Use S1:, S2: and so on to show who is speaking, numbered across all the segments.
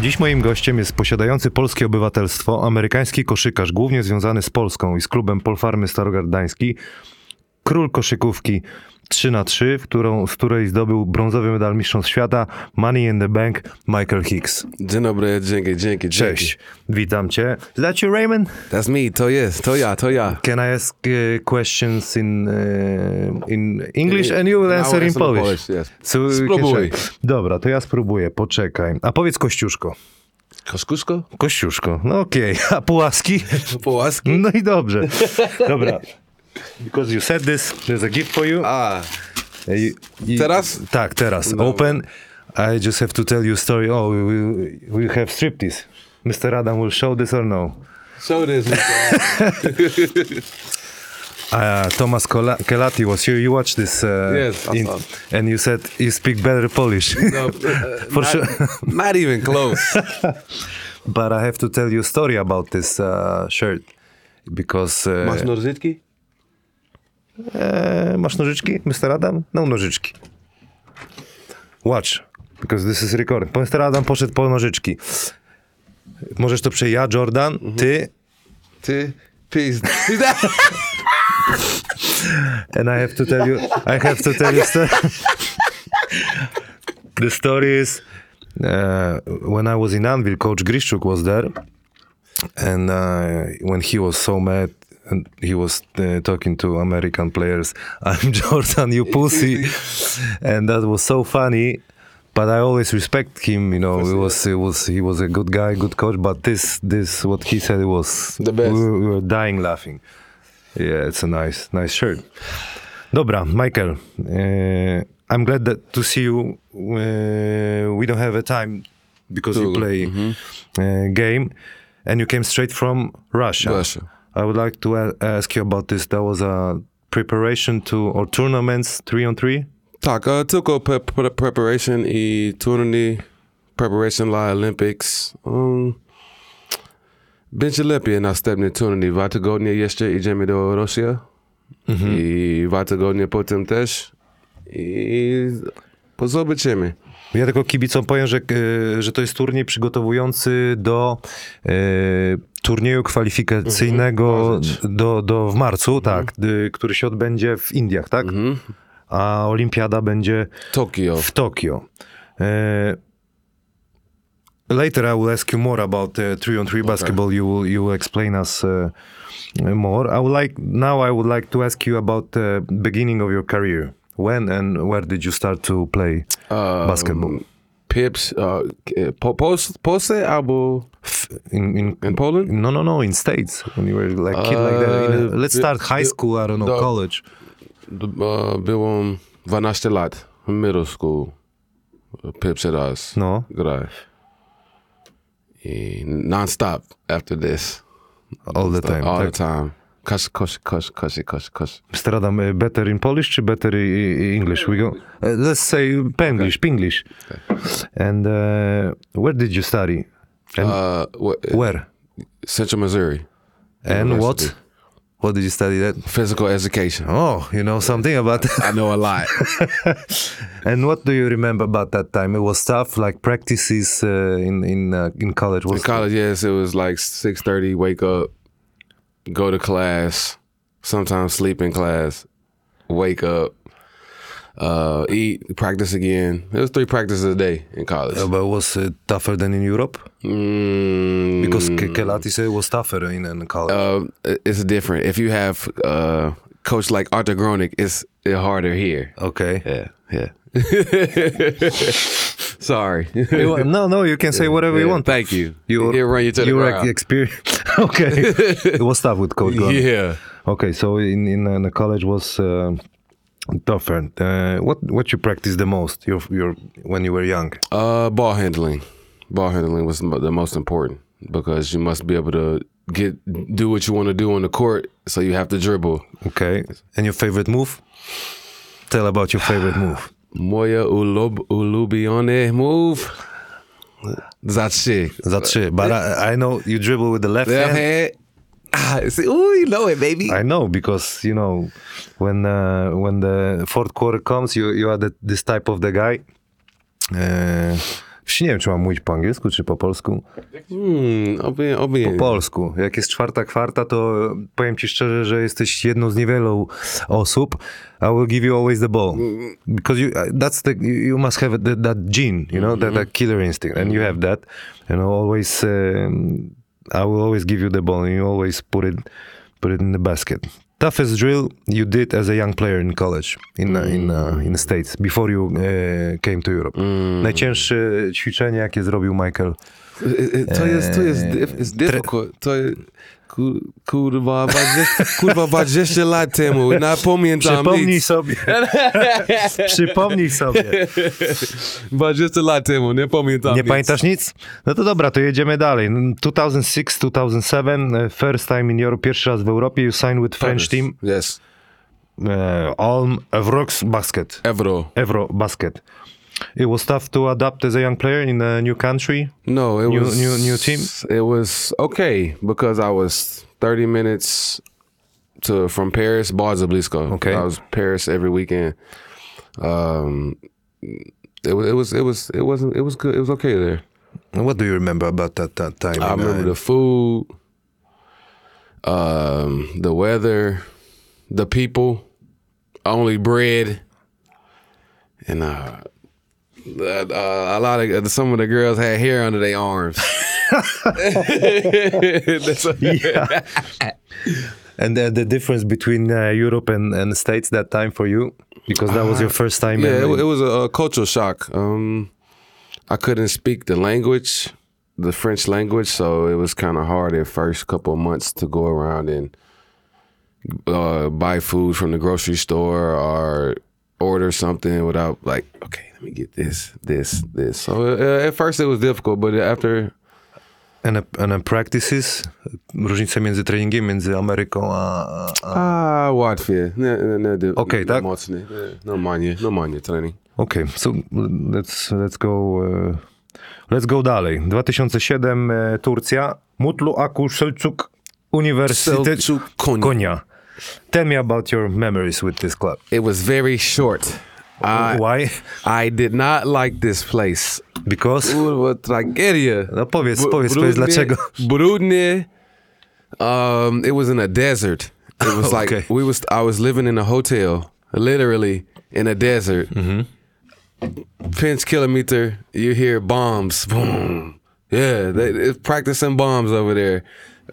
S1: dziś moim gościem jest posiadający polskie obywatelstwo, amerykański koszykarz, głównie związany z Polską i z klubem Polfarmy Starogardański, król koszykówki 3 na 3 w którą, z której zdobył brązowy medal mistrzostw świata Money in the Bank Michael Hicks.
S2: Dzień dobry, dzięki, dzięki,
S1: Cześć, witam cię. Is that you, Raymond?
S2: dzięki. That's me, to jest, to ja, to ja.
S1: Can I ask uh, questions in, uh, in English and you will
S2: Now
S1: answer in
S2: answer in
S1: Polish?
S2: Polish, yes.
S1: So,
S2: Spróbuj.
S1: Dobra, to ja spróbuję, poczekaj. A powiedz Kościuszko.
S2: Koskuszko?
S1: Kościuszko, no okej. A Pułaski?
S2: Po łaski?
S1: No i dobrze. Dobra. Because you said this, there's a gift for you.
S2: A,
S1: I- i-
S2: teraz?
S1: Tak, teraz.
S2: Dobra.
S1: Open. I just have to tell you story. Oh, we, we, we have striptease. Mr. Adam will show this or no.
S2: so this is...
S1: Uh, Thomas Kola- Kelati was here. You watched this, uh,
S2: Yes, I
S1: in-
S2: saw.
S1: and you said you speak better Polish.
S2: No,
S1: For
S2: not,
S1: sure.
S2: not even close.
S1: But I have to tell you a story about this uh, shirt because uh,
S2: Masz nożyczki?
S1: e, masz nożyczki, Mr. Adam? No nożyczki. Watch, because this is recording. Pan Mr. Adam poszedł po nożyczki. Możesz to przejść ja, Jordan, ty
S2: Ty, pizd... pizda.
S1: and I have to tell you, I have to tell you story. the story is uh, when I was in Anvil, Coach Grishuk was there, and uh, when he was so mad. And he was uh, talking to American players. I'm Jordan, you pussy, and that was so funny. But I always respect him. You know, it was it was he was a good guy, good coach. But this this what he said was
S2: The best.
S1: We were, we were dying laughing. Yeah, it's a nice, nice shirt. Dobra, Michael, uh, I'm glad that to see you. Uh, we don't have a time because you
S2: Długo,
S1: play uh, game, and you came straight from Russia.
S2: Russia.
S1: I would like to a- ask you about this. That was a preparation to or tournaments three on three.
S2: Tak, e, tylko pre pre preparation e, i turniej preparation dla Olympics. Um, będzie lepiej następny turniej. Dwa tygodnie jeszcze idziemy do Rosji. Mm-hmm. I dwa tygodnie E, potem E, też. I zobaczymy.
S1: Ja tylko kibicom powiem, że, e, że to jest turniej przygotowujący do e, turnieju kwalifikacyjnego do, do w marcu, tak, y, który się odbędzie w Indiach, tak? A olimpiada będzie
S2: Tokio.
S1: w Tokio. E, Later I will ask you more about uh, three on three basketball. You will you will explain us uh, more. I would like now I would like to ask you about the beginning of your career. When and where did you start to play
S2: Um,
S1: basketball?
S2: Pips, uh, po, pos, Pose albo
S1: in, in,
S2: in Poland?
S1: no no no in states when you were like kid like that In a-
S2: Uh,
S1: let's
S2: the-
S1: start high
S2: the-
S1: school i don't know
S2: the-
S1: college
S2: Uh, byłem 12 lat w middle school. uh, Pips raz.
S1: no
S2: graj. I E, non-stop after this.
S1: all the time
S2: All
S1: tak.
S2: the time. Kosz, kosz, kosz, kosz, kosz, kosz.
S1: Mr. Adam, uh, better in Polish czy better i- i- English we go uh, let's say Penglish Pinglish and uh, where did you study and
S2: Uh, wh-
S1: where
S2: Central Missouri.
S1: and what
S2: University.
S1: what did you study that
S2: Physical education.
S1: oh you know something about that
S2: I know a lot.
S1: and what do you remember about that time it was tough like practices uh, in in uh, in college
S2: In
S1: was
S2: college, yes, it was like 6.30, wake up, go to class, sometimes sleep in class, wake up, uh, eat, practice again. It was three practices a day in college.
S1: Uh, but was it tougher than in Europe?
S2: Mm,
S1: Because Ke- Kelati said it was tougher in, in college.
S2: uh, it's different. If you have uh, coach like Arthur Gronick, it's harder here.
S1: okay.
S2: Yeah, yeah. Sorry.
S1: You want- no, no, you can say whatever you want.
S2: Thank you.
S1: Your,
S2: It run you to the
S1: your
S2: ground.
S1: experience. okay. it was tough with Coach Glenn.
S2: Yeah.
S1: Okay, so in, in, uh, the college was uh, tougher. Uh, what what you practiced the most your, your, when you were young?
S2: Uh, ball handling. Ball handling was mo- the most important because you must be able to get do what you want to do on the court. So you have to dribble.
S1: Okay. And your favorite move? Tell about your favorite move.
S2: Moya ulub, ulubione move. That's it.
S1: That's it. But I, I know you dribble with the left
S2: Left
S1: hand.
S2: hand. Ah, see, ooh, you know it, baby.
S1: I know because you know when uh, when the fourth quarter comes, you you are the, this type of the guy. Uh, Wsi nie wiem, czy mam mówić po angielsku, czy po polsku.
S2: Hmm, obie, obie.
S1: Po polsku. Jak jest czwarta kwarta, to e, powiem ci szczerze, że jesteś jedną z niewielu osób. I will give you always the ball. Because you, uh, that's the, you you must have that, that gene, you know, that, that killer instinct. And you have that. You know, always, um, I will always give you the ball and you always put it, put it in the basket. Toughest drill you did as a young player in college, in, uh, in, uh, in the States, before you uh, came to Europe. Najcięższe ćwiczenie, jakie zrobił Michael
S2: E, e, To jest, to jest, dif- jest difficult. To jest, ku- kurwa, 20, kurwa, 20 lat temu, na pamiętam
S1: Przypomnij
S2: nic.
S1: sobie. Przypomnij sobie.
S2: 20 lat temu, nie pamiętam
S1: Nie
S2: nic.
S1: pamiętasz nic? No to dobra, to jedziemy dalej. 2006-2007, e, first time in Europe, pierwszy raz w Europie, you signed with French team
S2: Yes.
S1: uh, Alm Evrox Basket.
S2: Euro.
S1: Evro Basket. It was tough to adapt as a young player in a new country.
S2: No, it
S1: New-
S2: was
S1: new- new team?
S2: It was okay because I was 30 minutes to from Paris, Bars of Blisco.
S1: Okay.
S2: I was Paris every weekend. Um, it, wa- it was it was it wasn't it was good. It was okay there.
S1: What do you remember about that, that time?
S2: I remember the food, um, the weather, the people, only bread, and uh, uh, a lot of some of the girls had hair under their arms. That's what-
S1: And the, the difference between uh, Europe and, and States that time for you? Because that was your first time.
S2: yeah,
S1: in,
S2: it, it was a, a cultural shock. Um, I couldn't speak the language, the French language, so it was kind of hard at first couple of months to go around and uh, buy food from the grocery store or order something without like, okay, let me get this, this, this. So uh, at first it was difficult, but after
S1: And, a- and a practices, różnice między treningiem, między Ameryką a... a- a-
S2: ah, łatwiej. Nie- nie- nie- nie-
S1: Okej,
S2: nie
S1: tak?
S2: Mocny. Nie, Normalnie, normalnie trening.
S1: Okej, so let's, let's go... e, Let's go dalej. 2007 e, Turcja. Mutlu Aku Selçuk Uniwersytet
S2: Selçuk Konya.
S1: Konya. Tell me about your memories with this club.
S2: It was very short. I,
S1: Why?
S2: I did not like this place.
S1: Because...
S2: Kurwa, tragedia.
S1: No powiedz,
S2: Bu-
S1: powiedz, powiedz
S2: brudnie-
S1: dlaczego.
S2: Brudnie. Um, it was in a desert. It was like
S1: Okay.
S2: we was. I was living in a hotel, literally in a desert. Pinch kilometer, you hear bombs. Boom. Yeah, they, they practicing bombs over there.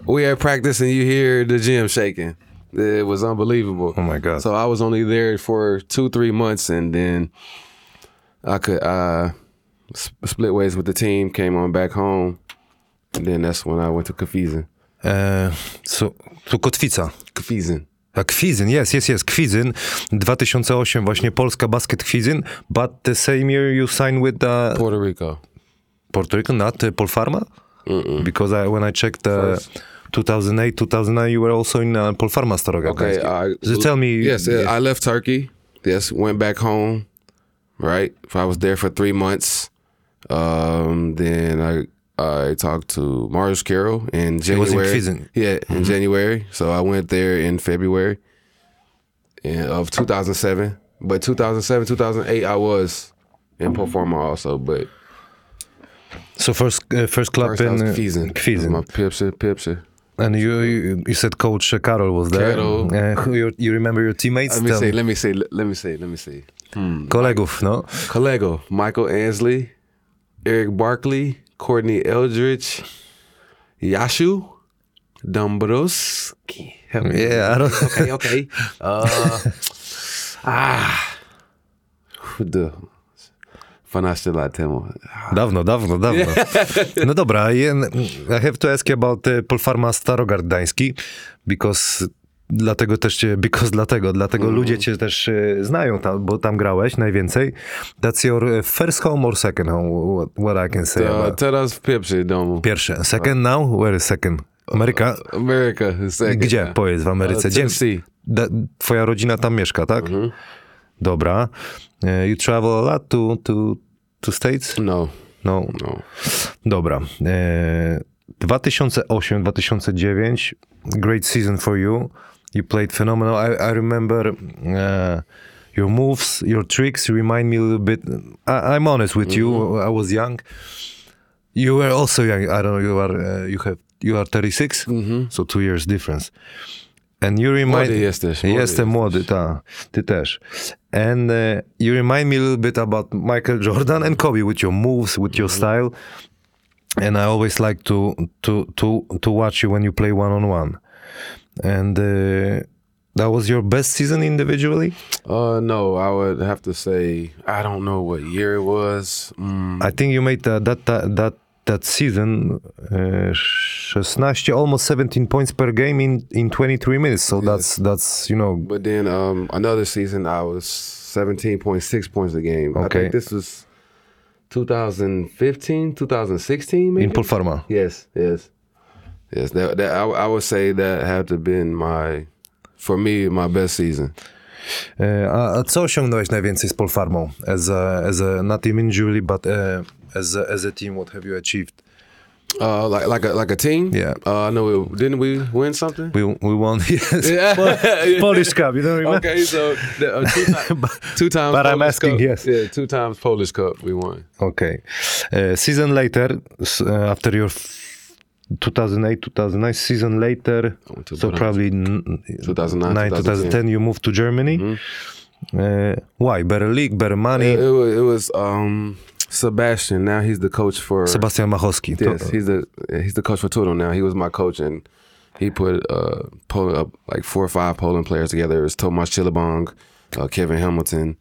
S2: We are practicing. You hear the gym shaking. It was unbelievable.
S1: Oh my God.
S2: So I was only there for two, three months, and then I could uh, sp- split ways with the team. Came on back home, and then that's when I went to Kafizin.
S1: E, so, to Kotwica.
S2: Kafizin.
S1: A Tak, Kwizyn, jest, jest, jest, Kwizyn, 2008 właśnie, Polska Basket Kwizyn, but the same year you signed with the
S2: Puerto Rico.
S1: Puerto Rican, not uh, Polfarma? Because I, when I checked uh, 2008, 2009, you were also in uh, Polfarma
S2: Okay,
S1: Starogardański.
S2: I,
S1: so tell me,
S2: Yes, uh, I left Turkey. Yes, went back home. Right, I was there for three months. Um, then I I talked to Marius Carroll in January.
S1: was in Kfizin.
S2: Yeah,
S1: Mm-hmm.
S2: in January. So I went there in February in, of 2007. But 2007, 2008, I was in performer also. But
S1: so first, uh, first club
S2: first I
S1: in
S2: was
S1: uh,
S2: Kfizin.
S1: Kwizyn.
S2: My pipsa, pipsa.
S1: And you, you, you said coach uh, Karol was there.
S2: Karol.
S1: Uh, who you, you remember your teammates?
S2: Let me
S1: Tell
S2: see.
S1: me.
S2: Let me see. Let me see. Let me see.
S1: Kolegów, no.
S2: Collego, Michael Ansley, Eric Barkley, Courtney Eldridge, Yashu, Dombrowski. Help me.
S1: Yeah, I don't...
S2: Okay, okay. Uh, ah. Who the- Fanaście lat temu.
S1: Dawno, dawno, dawno. No dobra, I I have to ask you about uh, Polfarma Starogard Gdański, because dlatego też cię, because dlatego, dlatego ludzie cię też e, znają, tam, bo tam grałeś najwięcej. That's your e, first home or second home, what, what I can say
S2: Uh,
S1: about.
S2: teraz w pierwszej domu.
S1: Pierwsze. Second now? Where is second? Ameryka?
S2: America. second.
S1: Gdzie? Powiedz w Ameryce.
S2: Uh,
S1: Gdzie?
S2: Tennessee.
S1: Da, twoja rodzina tam mieszka, tak? Dobra. E, You travel a lot to, to, to States?
S2: No,
S1: No.
S2: no.
S1: Dobra. E, 2008-2009, great season for you. You played phenomenal. I, I remember uh, your moves, your tricks remind me a little bit. I, I'm honest with you. I was young. You were also young. I don't know. You are. Uh, you have. You are 36. So two years difference. And you remind.
S2: Młody jesteś, młody
S1: Jestem młody, ta. Ty też. And uh, you remind me a little bit about Michael Jordan and Kobe with your moves, with your style. And I always like to to to to watch you when you play one on one. And uh, that was your best season individually.
S2: Uh, no, I would have to say I don't know what year it was. Mm,
S1: I think you made that that that that, that season uh, 16 almost 17 points per game in in 23 minutes so that's that's you know
S2: but then um, another season I was seventeen point six points a game. I
S1: Okay.
S2: think this was 2015, 2016, maybe.
S1: in Polfarma
S2: Yes, yes, yes. That, that I, I would say that had to been my, for me, my best season.
S1: E, a, a co osiągnąłeś najwięcej z Polfarmą as a, as a not team individually but uh, as a, as a team what have you achieved
S2: Uh, like like a like a team.
S1: Yeah.
S2: Uh, I know. It, didn't we win something?
S1: we we won yes
S2: Yeah.
S1: Polish Cup you don't remember
S2: okay, so the, uh, two, ti- two times.
S1: but I'm
S2: Polish
S1: asking,
S2: Cup.
S1: yes.
S2: Yeah, two times Polish Cup we won.
S1: Okay. Uh, season later, s- uh, after your f- 2008, 2009 season later,
S2: want to
S1: so
S2: put on-
S1: probably n-
S2: 2009,
S1: 2010, you moved to Germany.
S2: Mhm.
S1: Uh, why? Better league, better money.
S2: It, it was, it was um, Sebastian. Now he's the coach for.
S1: Sebastian Machowski. to-
S2: Yes, he's the he's the coach for Total now. He was my coach, and he put uh, Poland up like four or five Poland players together. It was Tomasz Chilabong, uh, Kevin Hamilton.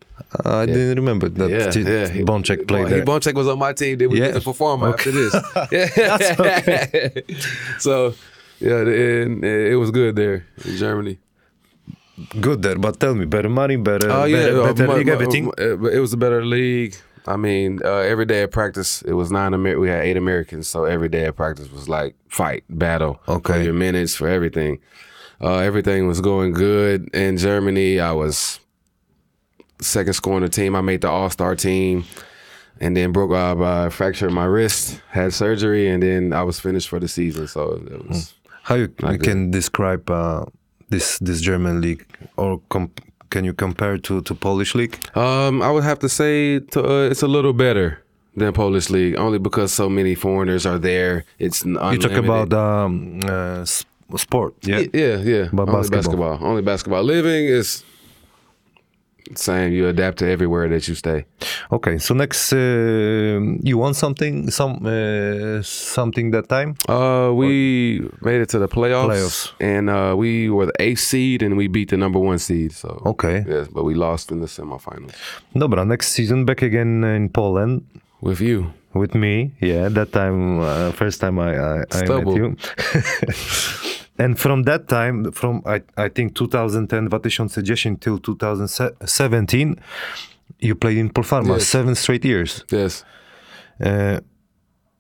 S1: I didn't remember that
S2: Yeah,
S1: T-
S2: yeah. He-
S1: Bonczek played
S2: He,
S1: there.
S2: Bonczek was on my team. Then we
S1: Yeah.
S2: get to perform after this. so, yeah, the- and it, it was good there in Germany.
S1: Good there, but tell me, better money, better,
S2: Oh yeah,
S1: better,
S2: uh,
S1: better
S2: mu-
S1: league,
S2: mu-
S1: everything?
S2: mu- uh, but It was a better league. I mean, uh, every day at practice, it was nine. Amer- we had eight Americans, so every day at practice was like fight, battle.
S1: Okay.
S2: for your minutes for everything. Uh, everything was going good in Germany. I was second scorer on the team. I made the All Star team, and then broke. Uh, I fractured my wrist, had surgery, and then I was finished for the season. So it
S1: Hmm.
S2: was.
S1: How you, you can describe uh, this this German league, or comp- can you compare to to Polish league?
S2: Um, I would have to say to, uh, it's a little better than Polish league, only because so many foreigners are there. It's n-
S1: You talk about
S2: unlimited.
S1: um, uh, s- sport, yeah?
S2: Y- yeah, yeah,
S1: But
S2: only
S1: basketball.
S2: basketball. only basketball. Living is same. You adapt to everywhere that you stay.
S1: Okay, so next, uh, you want something, some uh, something that time?
S2: Uh, we made it to the playoffs,
S1: Playoffs.
S2: and uh, we were the eighth seed, and we beat the number one seed. So
S1: Okay.
S2: yes, but we lost in the semifinals
S1: Dobra, next season back again in Poland
S2: with you.
S1: with me. Yeah, that time, uh, first time I I, I met
S2: Stubble.
S1: you. and from that time, from I I think 2010, 2010 till 2017, you played in Polfarma
S2: Yes.
S1: seven straight years.
S2: Yes.
S1: Uh,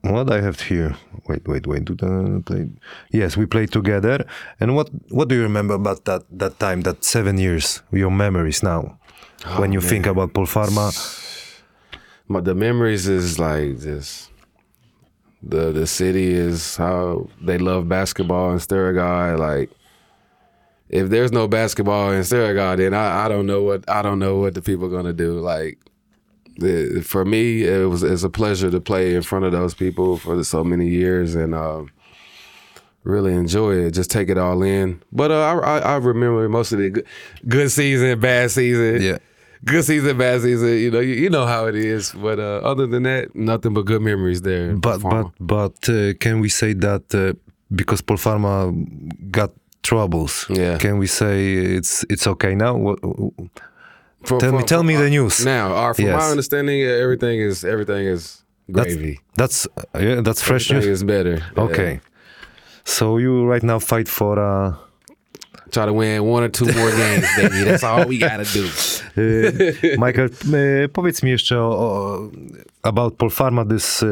S1: what I have here? Wait, wait, wait. Do the play? Yes, we played together. And what what do you remember about that that time? That seven years? Your memories now,
S2: Ah,
S1: when you think about Polfarma.
S2: my the memories is like just the the city is how they love basketball in Sturgard. Like if there's no basketball in Sturgard, then I, I don't know what I don't know what the people are gonna do. Like the, for me, it was it's a pleasure to play in front of those people for so many years and. Uh, Really enjoy it. Just take it all in. But uh, I, I I remember most of the good, good season, bad season good season, bad season. You know, you, you know how it is. But uh, other than that, nothing but good memories there.
S1: But but but uh, can we say that uh, because Polfarma got troubles?
S2: Yeah.
S1: Can we say it's it's okay now? What,
S2: From-
S1: tell me
S2: from-
S1: tell me
S2: from-
S1: the news.
S2: now. Uh, from
S1: Yes.
S2: my understanding, uh, everything is everything is
S1: That's-
S2: gravy.
S1: That's yeah, that's fresh
S2: Everything
S1: news.
S2: is better.
S1: Okay. So you right now fight for. Uh,
S2: Yeah. Try to win one or two more games, baby. That's all we gotta do.
S1: E, Michael, e, powiedz mi jeszcze o, o, about Polfarma this, e,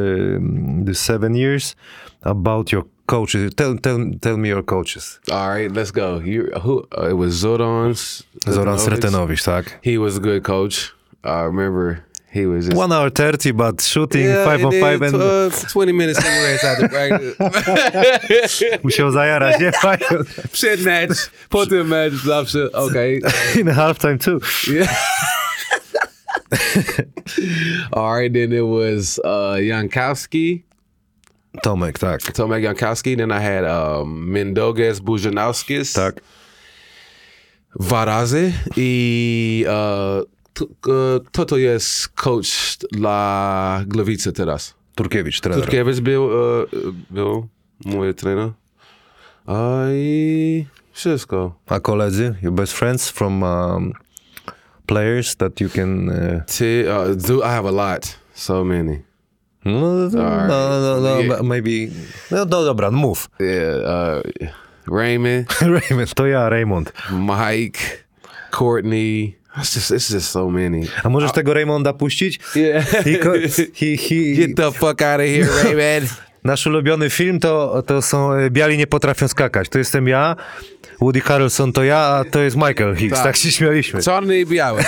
S1: this seven years, about your coaches. Tell, tell, tell me your coaches.
S2: All right, let's go. You who? Uh, it was Zoran. S-
S1: Zoran
S2: Sretenovic.
S1: Sretenowicz, tak?
S2: He was a good coach. I remember He was just
S1: One hour thirty, but shooting
S2: Yeah,
S1: five on
S2: it
S1: five
S2: is,
S1: and
S2: uh, twenty minutes cigarettes after practice.
S1: musiał zajarać, nie?
S2: Shit match, potem match, love shit. Okay,
S1: In halftime too.
S2: yeah. All right, then it was uh, Jankowski,
S1: Tomek, tak.
S2: Tomek Jankowski. Then I had um, Mendoges Bujanowskis.
S1: Tak.
S2: Varaze i uh, t- uh, toto jest coach dla Gliwice teraz.
S1: Turkiewicz, trener.
S2: Turkiewicz był, uh, był mój trener. A i wszystko.
S1: A koledzy, your best friends from um, players that you can... Uh,
S2: Ty, uh, do, I have a lot. So many.
S1: no, no,
S2: Alright.
S1: no, no, no,
S2: Yeah.
S1: ma- maybe... No, no dobra, mów.
S2: Yeah, uh, Raymond,
S1: Raymond, to ja, Raymond.
S2: Mike, Courtney. It's just, it's just so many.
S1: A możesz tego Raymonda puścić?
S2: Yeah.
S1: He, ko- he, he,
S2: Get the fuck out of here, Raymond.
S1: Nasz ulubiony film to, to są e, Biali nie potrafią skakać. To jestem ja, Woody Harrelson to ja, a to jest Michael Hicks.
S2: Tak.
S1: Tak, się śmialiśmy.
S2: Czarny i biały.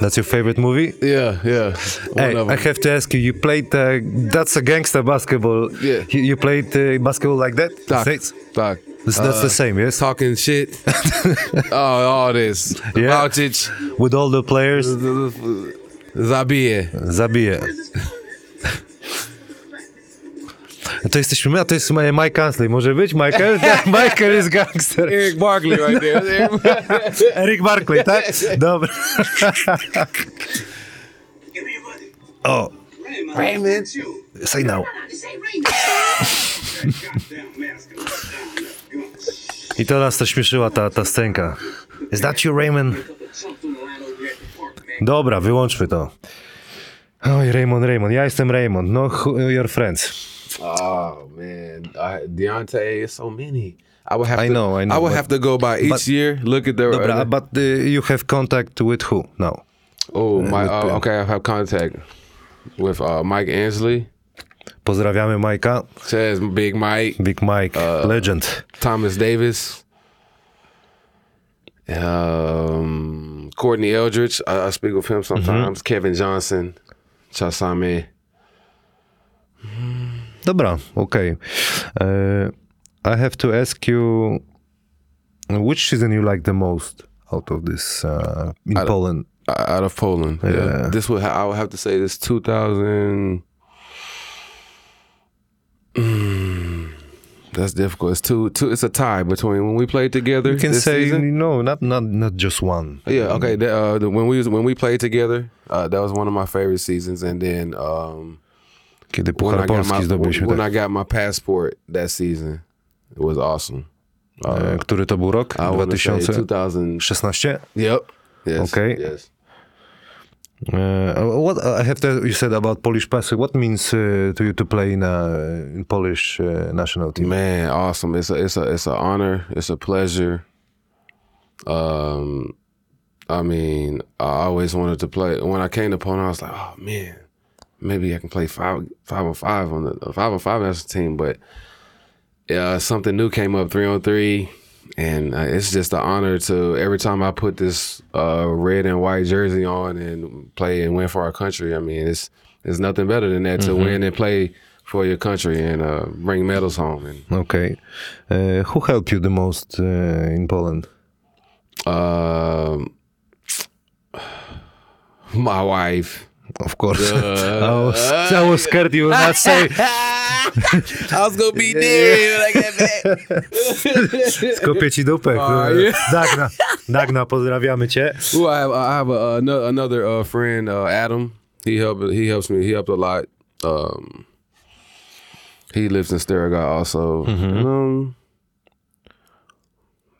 S1: That's your favorite movie?
S2: Yeah, yeah. One
S1: Hey,
S2: of
S1: I
S2: 'em.
S1: have to ask you, you played, uh, that's a gangster basketball.
S2: Yeah.
S1: You, you played uh, basketball like that? in
S2: Doc,
S1: States?
S2: Doc.
S1: That's, that's the same, yes?
S2: Talking shit. oh, all this.
S1: Yeah.
S2: Yeah. Bautic,
S1: With all the players,
S2: Zabie.
S1: zabiję. To jesteśmy my, a to jest e, Mike Ansley. Może być Michael? Tak, Michael jest gangster.
S2: Eric Barkley right there.
S1: Eric Barkley, tak? Dobra. O,
S2: Raymond.
S1: say no. now. I to nas to śmieszyła ta, ta scenka. Is that you, Raymond? Dobra, wyłączmy to. Oj, Raymond, Raymond, ja jestem Raymond. No, who- your friends.
S2: Oh man, I, Deontay is so many. I would have.
S1: I
S2: to,
S1: know, I know,
S2: I would
S1: but-
S2: have to go by each
S1: but-
S2: year. Look at their.
S1: Dobra, but uh, you have contact with who No. now?
S2: oh my.
S1: with
S2: Uh,
S1: Bill.
S2: okay, I have contact with uh, Mike Ansley,
S1: Pozdrawiamy Majka.
S2: says Big Mike,
S1: Big Mike, legend.
S2: Thomas Davis, um, Courtney Eldridge. I, I speak with him sometimes.
S1: Mm-hmm.
S2: Kevin Johnson, Chasame.
S1: Dobra, okej. Okay. I have to ask you, which season you like the most out of this uh, in
S2: don't-
S1: Poland?
S2: out of Poland. Yeah.
S1: Yeah.
S2: This would ha- I would have to say this 2000. Mm, That's difficult. It's two two. It's a tie between when we played together.
S1: You can
S2: this
S1: say
S2: season.
S1: no, not not not just one.
S2: Yeah. Okay. The, uh, the, when we was- when we played together, uh, that was one of my favorite seasons. And then um,
S1: Kiedy
S2: when
S1: Puchar
S2: I got
S1: Polski
S2: my
S1: zdobyliśmy,
S2: when
S1: tak.
S2: I got my passport that season, it was awesome.
S1: E, Który to był rok?
S2: I want to say
S1: 2016?
S2: 2000. Yep. Yes.
S1: Okay.
S2: Yes.
S1: Uh, what I have to, you said about Polish passing, what means uh, to you to play in a in Polish uh, national team?
S2: Man, awesome! It's a it's a it's an honor. It's a pleasure. Um, I mean, I always wanted to play. When I came to Poland, I was like, oh man, maybe I can play five five on five on the five on five national team. But uh, something new came up three on three, and uh, it's just an honor to every time I put this uh, red and white jersey on and play and win for our country. I mean, it's it's nothing better than that to win and play. For your country and uh, bring medals home and
S1: Okay. Uh, who helped you the most uh, in Poland?
S2: Um, my wife.
S1: Of course.
S2: Uh,
S1: I, was, I was scared you would
S2: Eee.
S1: not say
S2: I was gonna be there when I got back.
S1: kopię ci dupę.
S2: A,
S1: kurde.
S2: nie.
S1: Dagna, Dagna, pozdrawiamy cię.
S2: Ooh, I have, I have a, ano- another uh, friend, uh, Adam. He helped. He helps me. He helped a lot. Um, he lives in Staragat also. And, um,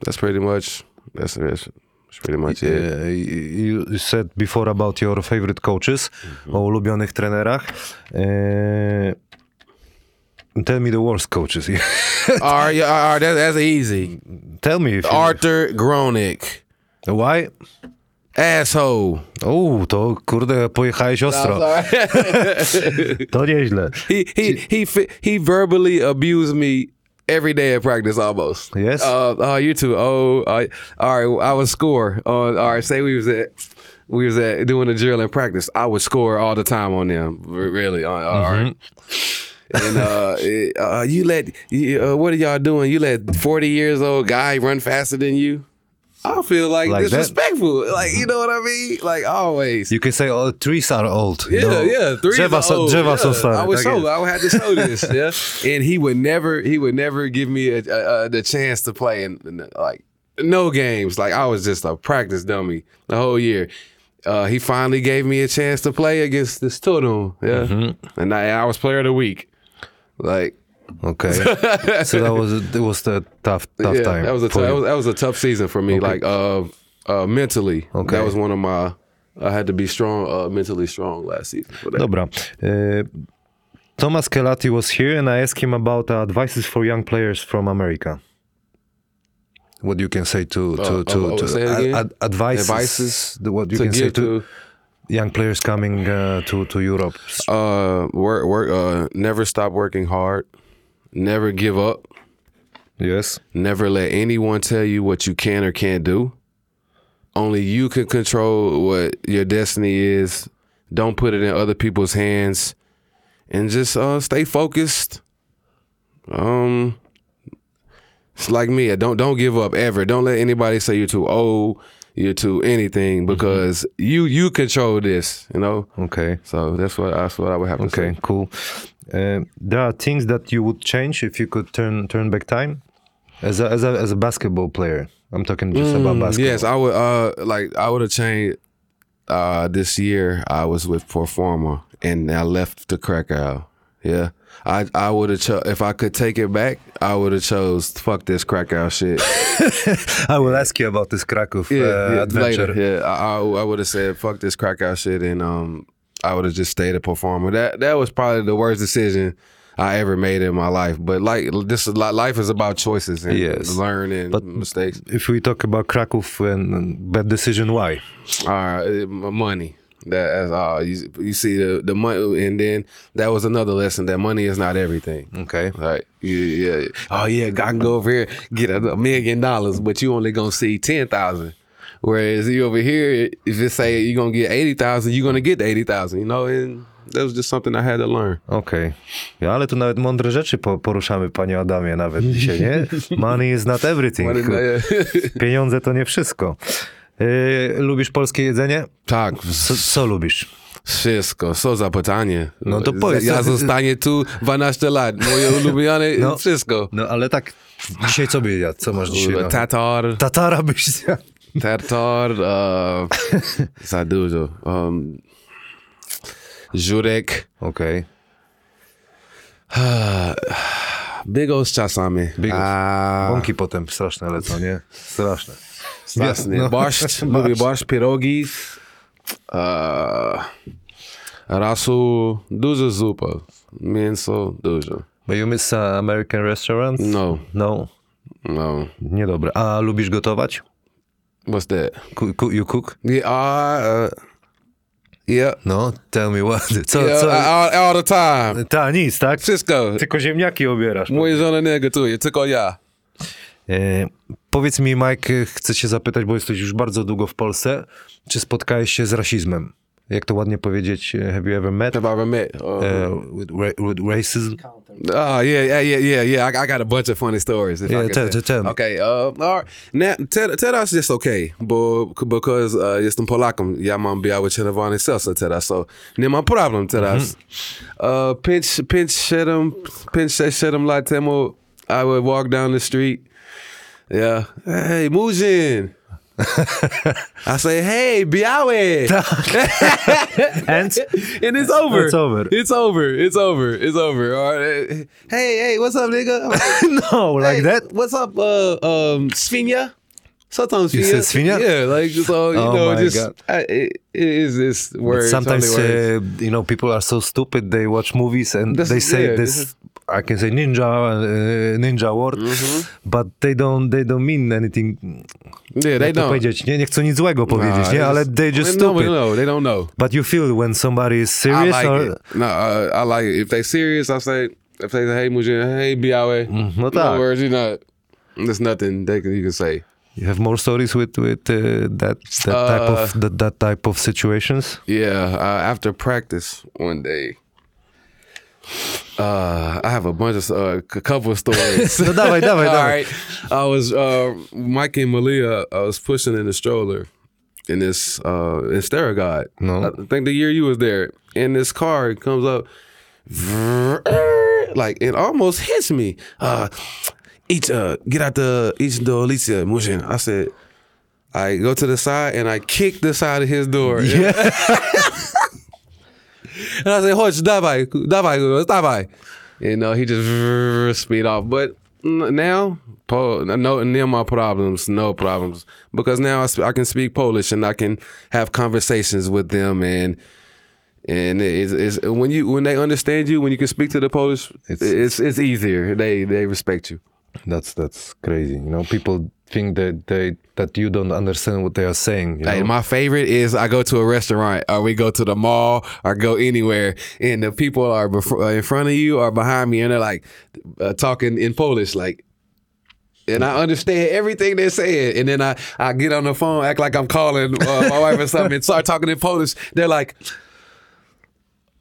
S2: that's pretty much. That's that's, that's pretty much it.
S1: Uh, you said before about your favorite coaches,
S2: Mhm.
S1: o ulubionych trenerach. Uh, tell me the worst coaches.
S2: All right, yeah, all right. That, that's easy.
S1: tell me if you,
S2: Arthur Gronick,
S1: why.
S2: asshole.
S1: O, to kurde, pojechałeś ostro. To nieźle.
S2: he he he fi- he verbally abused me every day at practice almost.
S1: Yes.
S2: Uh, oh, you too. Oh, uh, all right. I would score on. All right. Say we was at we was at doing a drill in practice. I would score all the time on them. re- Really. on- all right.
S1: Mm-hmm.
S2: and uh, it- uh, you let you, uh, what are y'all doing? You let forty years old guy run faster than you. I feel like,
S1: Like that?
S2: disrespectful. Like you know what I mean? Like always.
S1: You can say, oh, trees are old.
S2: Yeah,
S1: No.
S2: yeah. Three
S1: drzewa
S2: is
S1: są,
S2: old.
S1: drzewa
S2: yeah.
S1: są stare.
S2: I was
S1: tak
S2: told
S1: jest.
S2: I would have to show this. Yeah, and he would never, he would never give me a, a, a, the chance to play in, in, like no games. Like I was just a practice dummy the whole year. Uh, he finally gave me a chance to play against this Tottenham. Yeah,
S1: Mm-hmm.
S2: and I, I was player of the week. Like
S1: Okay. so that was it was the tough tough
S2: yeah,
S1: time.
S2: that was a
S1: for
S2: tou- that
S1: you.
S2: was, that was a tough season for me. Like uh, uh, mentally,
S1: Okay.
S2: that was one of my. I had to be strong, uh, mentally strong last season. For that.
S1: Dobra. E, Thomas Kelati was here and I asked him about uh, advices for young players from America. What you can say to to
S2: Uh,
S1: to,
S2: uh,
S1: to
S2: say it again?
S1: ad- advices,
S2: Advices
S1: the- what you
S2: to
S1: can say
S2: give
S1: to,
S2: to
S1: young players coming uh, to to Europe.
S2: Uh, work, work. Uh, never stop working hard. Never give up.
S1: Yes.
S2: Never let anyone tell you what you can or can't do. Only you can control what your destiny is. Don't put it in other people's hands, and just uh, stay focused. Um, it's like me. I Don't don't give up ever. Don't let anybody say you're too old. You're too anything because you you control this. You know.
S1: Okay.
S2: So that's what that's what I would have to say.
S1: Okay, cool. Uh, there are things that you would change if you could turn turn back time as a, as a, as a basketball player. I'm talking just
S2: Mm,
S1: about basketball.
S2: Yes, I would. Uh, like I would have changed. Uh, this year I was with Performer and I left the Krakow. Yeah, I I would have cho- if I could take it back. I would have chose fuck this Krakow shit.
S1: I will ask you about this Kraków
S2: Yeah,
S1: uh,
S2: yeah,
S1: adventure.
S2: later. Yeah, I I, would have said fuck this Krakow shit and um I would have just stayed a Performer. That that was probably the worst decision. I ever made in my life, but like this, is li- life is about choices and
S1: Yes.
S2: learning mistakes.
S1: If we talk about Kraków and and bad decision, why?
S2: All right, it- Uh, m- money. That, that's all. You, you see the the money, and then that was another lesson that money is not everything.
S1: Okay.
S2: Like, yeah, yeah. Oh yeah, I can go over here get a a million dollars, but you only gonna see ten thousand. Whereas you over here, if it say you're gonna get eighty thousand, you're gonna get the eighty thousand. You know, and that was just something I had to learn.
S1: Okej. Ja, ale tu nawet mądre rzeczy po, poruszamy, panie Adamie, nawet dzisiaj, nie? Money is not e- everything. Pieniądze to nie wszystko. Yy, lubisz polskie jedzenie?
S2: Tak,
S1: Co, co lubisz?
S2: wszystko, co za pytanie.
S1: No to powiedz.
S2: Ja zostanie tu 12 lat. Moje ulubione,
S1: No.
S2: wszystko.
S1: No ale tak, dzisiaj co by jadł? Co masz dzisiaj? na-
S2: Tatar,
S1: Tatara byś zjadł.
S2: Tartar, uh, za dużo. Um, Żurek,
S1: Okej.
S2: Bigos czasami.
S1: Bigos.
S2: A,
S1: Bąki potem straszne lecą, nie? Straszne.
S2: Straszny.
S1: No.
S2: Barszcz, lubię barszcz, pierogi. Uh, rasu, dużo zupa. Mięso, dużo.
S1: But you miss uh, American restaurants?
S2: No,
S1: No,
S2: no.
S1: niedobre. A lubisz gotować?
S2: What's that?
S1: Ku, ku, you cook?
S2: Yeah, uh, yeah.
S1: No, tell me what. Co,
S2: yeah
S1: co?
S2: all, all the time.
S1: Ta, nic, tak?
S2: Wszystko.
S1: Tylko ziemniaki obierasz.
S2: Moje żony nie gotuje, tylko ja.
S1: E, powiedz mi, Mike, e, chcę cię zapytać, bo jesteś już bardzo długo w Polsce. Czy spotkałeś się z rasizmem? Jak to ładnie powiedzieć? e, Have you ever met
S2: Have I ever met? Uh,
S1: e, with, ra- with racism?
S2: Oh yeah, yeah, yeah, yeah, yeah. I, I got a bunch of funny stories. if I
S1: Yeah,
S2: could
S1: tell-
S2: say.
S1: tell me.
S2: Okay, uh, all right. Now, tell, tell us just okay, bo, because uh, jestem Polakom, ja mam biały czerwony serce teraz, so nie mam problem teraz.
S1: Mm-hmm.
S2: Uh, pinch, pinch, siedem, pinch, sześć, siedem lat temu, I would walk down the street. Yeah. Hey, Mujin. I say, hey, biały.
S1: And?
S2: And it's over.
S1: It's over.
S2: It's over. It's over. It's over. All right. Hey, hey, what's up, nigga?
S1: no, like
S2: Hey,
S1: that?
S2: What's up, uh, um, Svinya? Sometimes
S1: You
S2: Svinya.
S1: said Svinya?
S2: Yeah, like so you
S1: Oh
S2: know,
S1: my
S2: just
S1: God.
S2: I, it, it is this
S1: But
S2: word.
S1: sometimes
S2: only words.
S1: uh, you know people are so stupid they watch movies and
S2: This
S1: they
S2: is-
S1: say
S2: yeah,
S1: this,
S2: this is-
S1: i can say ninja uh, ninja word
S2: Mm-hmm.
S1: but they don't they don't mean anything
S2: yeah, they
S1: jak to
S2: don't.
S1: powiedzieć nie, nie chcą nic złego powiedzieć nie
S2: it's-
S1: ale they just
S2: no,
S1: stupid
S2: No, they don't know.
S1: but you feel when somebody is
S2: I
S1: serious
S2: like
S1: or
S2: it. No, uh, I like it. If they serious, I say, If they say, hey, Mujin, hey, Biawe,
S1: no tak.
S2: no words, you know, there's nothing they can, you can say.
S1: You have more stories with with uh, that that type of
S2: Uh.
S1: that, that type of situations.
S2: Yeah, uh, after practice one day, uh, I have a bunch of uh, a couple of stories.
S1: No, dawaj, dawaj,
S2: All
S1: dawaj.
S2: right, I was uh, Mikey and Malia. I was pushing in the stroller in this uh, in Sterigod.
S1: No.
S2: I think the year you was there. And this car it comes up, like it almost hits me. Uh, each uh, get out the each door, Alicia motion. I said. I go to the side and I kick the side of his door.
S1: Yeah.
S2: And I said, Hodge, dawaj, dawaj, go, dawaj. You know, he just speed off. But n- now, po- no, near my problems, no problems. Because now I, sp- I can speak Polish and I can have conversations with them. And and it's, it's, when you when they understand you, when you can speak to the Polish, it's it's, it's easier. They they respect you.
S1: That's that's crazy. You know, people think that they that you don't understand what they are saying. You
S2: Hey,
S1: know?
S2: my favorite is I go to a restaurant or we go to the mall or go anywhere and the people are before, in front of you or behind me and they're like uh, talking in Polish like and I understand everything they're saying and then I, I get on the phone act like I'm calling uh, my wife or something and start talking in Polish they're like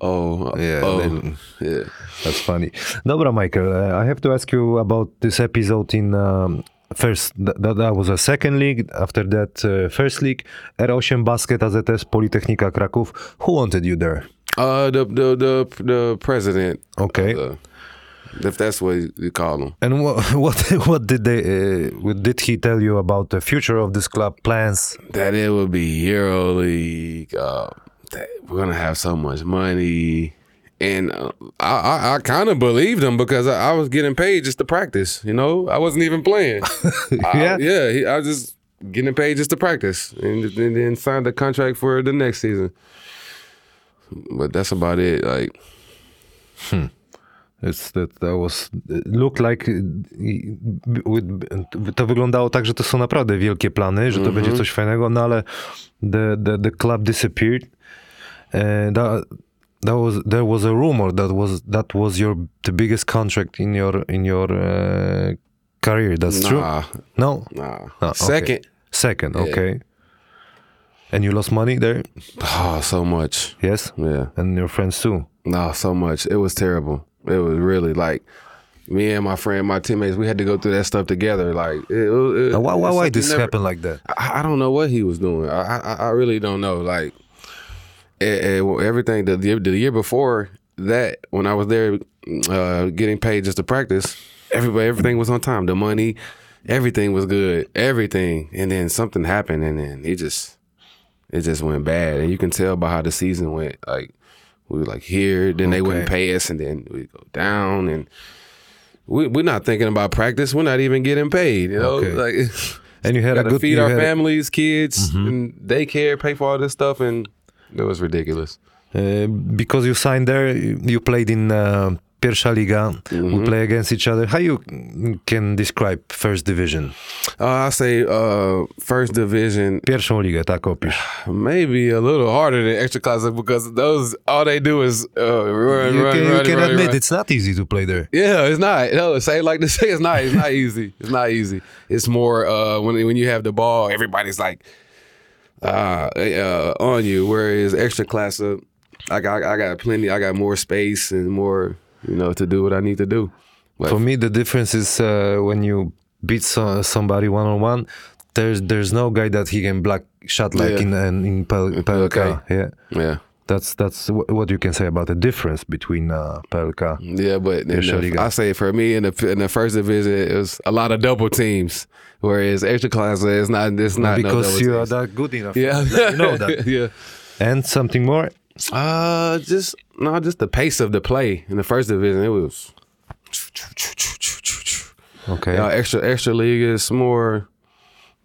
S2: oh
S1: Yeah,
S2: yeah oh,
S1: they-
S2: yeah
S1: That's funny. Dobra, Michael, uh, I have to ask you about this episode in um, first, th- that, that was a second league. After that, uh, first league, R8 Basket AZS Politechnika Kraków. Who wanted you there?
S2: uh the the the, the president
S1: Okay.
S2: uh, if that's what you call him
S1: And wha- what what did they uh, what did he tell you about the future of this club plans?
S2: that it would be EuroLeague. Uh, that we're gonna have so much money, and uh, I I, I kind of believed him because I, I was getting paid just to practice. You know, I wasn't even playing.
S1: Yeah?
S2: I, yeah. He, I was just getting paid just to practice, and, and then signed a contract for the next season. But that's about it. Like,
S1: It's that that was look like uh, i- with, to wyglądało tak, że to są naprawdę wielkie plany, że to
S2: Mhm.
S1: będzie coś fajnego, no ale the the, the club disappeared. Uh, that, that was there was a rumor that was that was your the biggest contract in your in your uh, career. That's true.
S2: nah,
S1: No.
S2: nah.
S1: Ah, okay.
S2: Second,
S1: Second, okay. And you lost money there?
S2: oh, so much.
S1: Yes.
S2: Yeah.
S1: And your friends too.
S2: No, so much. It was terrible. It was really like me and my friend, my teammates. We had to go through that stuff together. Like, it, was- it,
S1: Now, why why why
S2: it's something
S1: this
S2: never-
S1: happened like that?
S2: I, I don't know what he was doing. I I, I really don't know. Like, eh, eh, well, everything the, the the year before that, when I was there, uh, getting paid just to practice, everybody everything was on time. The money, everything was good. Everything, and then something happened, and then it just it just went bad, and you can tell by how the season went. Like. We were like here, then they wouldn't pay us, and then we go down, and we, we're not thinking about practice. We're not even getting paid, you know.
S1: Okay.
S2: Like
S1: And you had a
S2: gotta
S1: good
S2: feed
S1: you
S2: our
S1: had a-
S2: families, kids, and daycare, pay for all this stuff, and it was ridiculous.
S1: Uh, because you signed there, you played in uh, Pierwsza Liga.
S2: Mhm.
S1: We play against each other. How you can describe first division?
S2: Uh, I say uh, first division,
S1: Pierwszą ligę, tak opisz.
S2: maybe a little harder than extra classic because those all they do is uh, run,
S1: you
S2: run,
S1: can,
S2: run,
S1: you can
S2: run,
S1: admit
S2: run.
S1: it's not easy to play there.
S2: Yeah, it's not. No, say it like this. It's not. It's not easy. It's not easy. It's more uh, when when you have the ball, everybody's like uh, uh, on you. Whereas extra class up, I got I got plenty. I got more space and more you know to do what I need to do. But
S1: For me, the difference is uh, when you beat so, somebody one on one. There's there's no guy that he can block shot like
S2: Yeah.
S1: in in, in PL, PLK. Yeah,
S2: yeah.
S1: that's that's wh- what you can say about the difference between uh, PLK.
S2: Yeah, but in
S1: sure
S2: the,
S1: you got-
S2: I say for me in the in the first division it was a lot of double teams, whereas extra class it's not it's not no
S1: because
S2: double
S1: you are
S2: teams.
S1: that good enough.
S2: yeah
S1: you know that.
S2: yeah
S1: And something more.
S2: uh just no just the pace of the play in the first division it was
S1: Okay.
S2: uh, extra extra league is more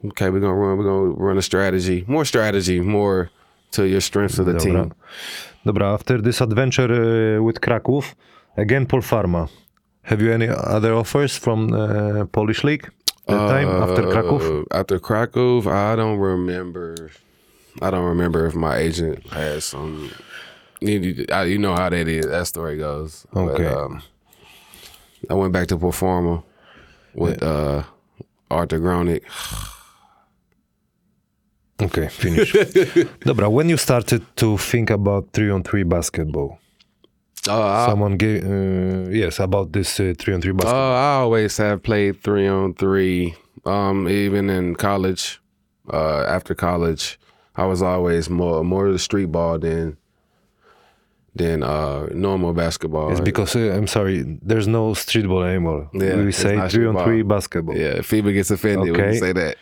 S2: okay we're gonna run we're gonna run a strategy more strategy more to your strengths of the
S1: Dobra.
S2: team
S1: Dobra, after this adventure uh, with Kraków, again Paul Pharma. Have you any other offers from uh, Polish league that time after Kraków?
S2: Uh, After Krakow, I don't remember. I don't remember if my agent had some. You, you- I- you know how that is. That story goes. But,
S1: Okay.
S2: um, I went back to performer with uh, Arthur Gronick.
S1: Okay, finish. Dobra, when you started to think about three on three basketball,
S2: Uh, I-
S1: someone gave uh, yes about this uh, three on three basketball.
S2: Uh, I always have played three on three. Um, even in college, uh, after college, I was always more more of the street ball than than uh, normal basketball.
S1: it's because uh, I'm sorry, there's no street ball anymore.
S2: Yeah,
S1: we
S2: it's
S1: say
S2: not
S1: three on
S2: street
S1: three basketball.
S2: yeah, FIBA gets offended when
S1: Okay.
S2: you say that.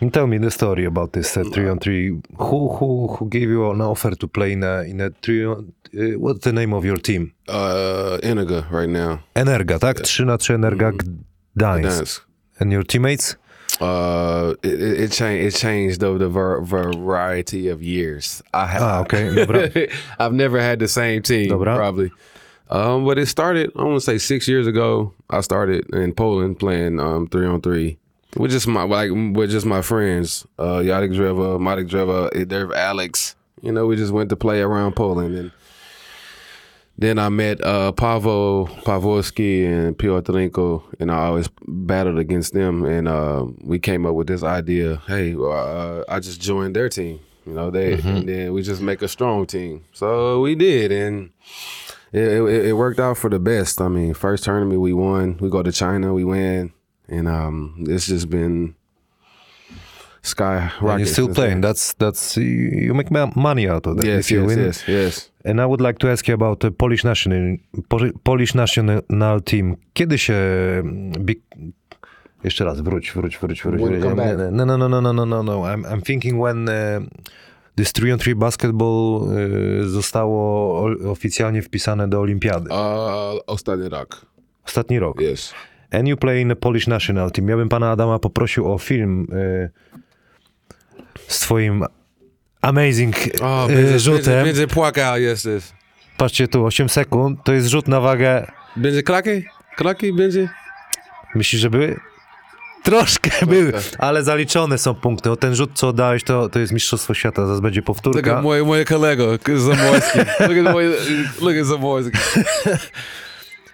S1: And Tell me the story about this uh, three on three. Who who who gave you an offer to play in a in a three on? Uh, what's the name of your team?
S2: Uh, Inaga right now.
S1: Energa, tak?
S2: E,
S1: Trzy na trzy
S2: mm,
S1: Energa Gdańsk.
S2: Dance.
S1: And your teammates?
S2: Uh, it, it, it changed. It changed over the var- variety of years. I have.
S1: Ah, okay, dobra.
S2: I've never had the same team,
S1: Dobra.
S2: probably. Um, but it started, I want to say six years ago. I started in Poland playing um, three on three with just my like with just my friends, uh, Yadik Dreva, Matic Dreva, Derv Alex. You know, we just went to play around Poland, and then I met uh, Pavo Pavoski and Piotrenko, and I always battled against them. And uh, we came up with this idea: hey, uh, I just joined their team. You know, they
S1: Mm-hmm.
S2: and then we just make a strong team. So we did, and it, it, it worked out for the best. I mean, first tournament we won. We go to China, we win, and um, it's just been skyrocketing.
S1: And you're still
S2: since
S1: playing.
S2: then.
S1: That's that's you you make ma- money out of that
S2: Yes,
S1: if you
S2: yes,
S1: win.
S2: yes, yes.
S1: And I would like to ask you about the Polish national, Poli- Polish national team. Kiedy się... mm, Bi- jeszcze raz, wróć, wróć, wróć, wróć.
S2: When
S1: wróć.
S2: come back.
S1: No, no, no, no, no, no, no, no. I'm, I'm thinking when e, this 3 on 3 basketball e, zostało o- oficjalnie wpisane do Olimpiady.
S2: Uh, ostatni rok.
S1: Ostatni rok.
S2: Yes.
S1: And you play in the Polish national team. Ja bym pana Adama poprosił o film e, z twoim amazing
S2: O,
S1: e,
S2: będzie,
S1: rzutem.
S2: będzie, będzie płakał, jest, jest.
S1: Patrzcie tu, 8 sekund, to jest rzut na wagę
S2: Będzie klaki? Klaki będzie?
S1: Myślisz, że były? Troszkę były, ale zaliczone są punkty. O ten rzut, co dałeś, to, to jest Mistrzostwo Świata. Zaraz będzie
S2: Look
S1: powtórka.
S2: at moje, moje kolego, k- Zamorski. Look at moje, look at Zamorski.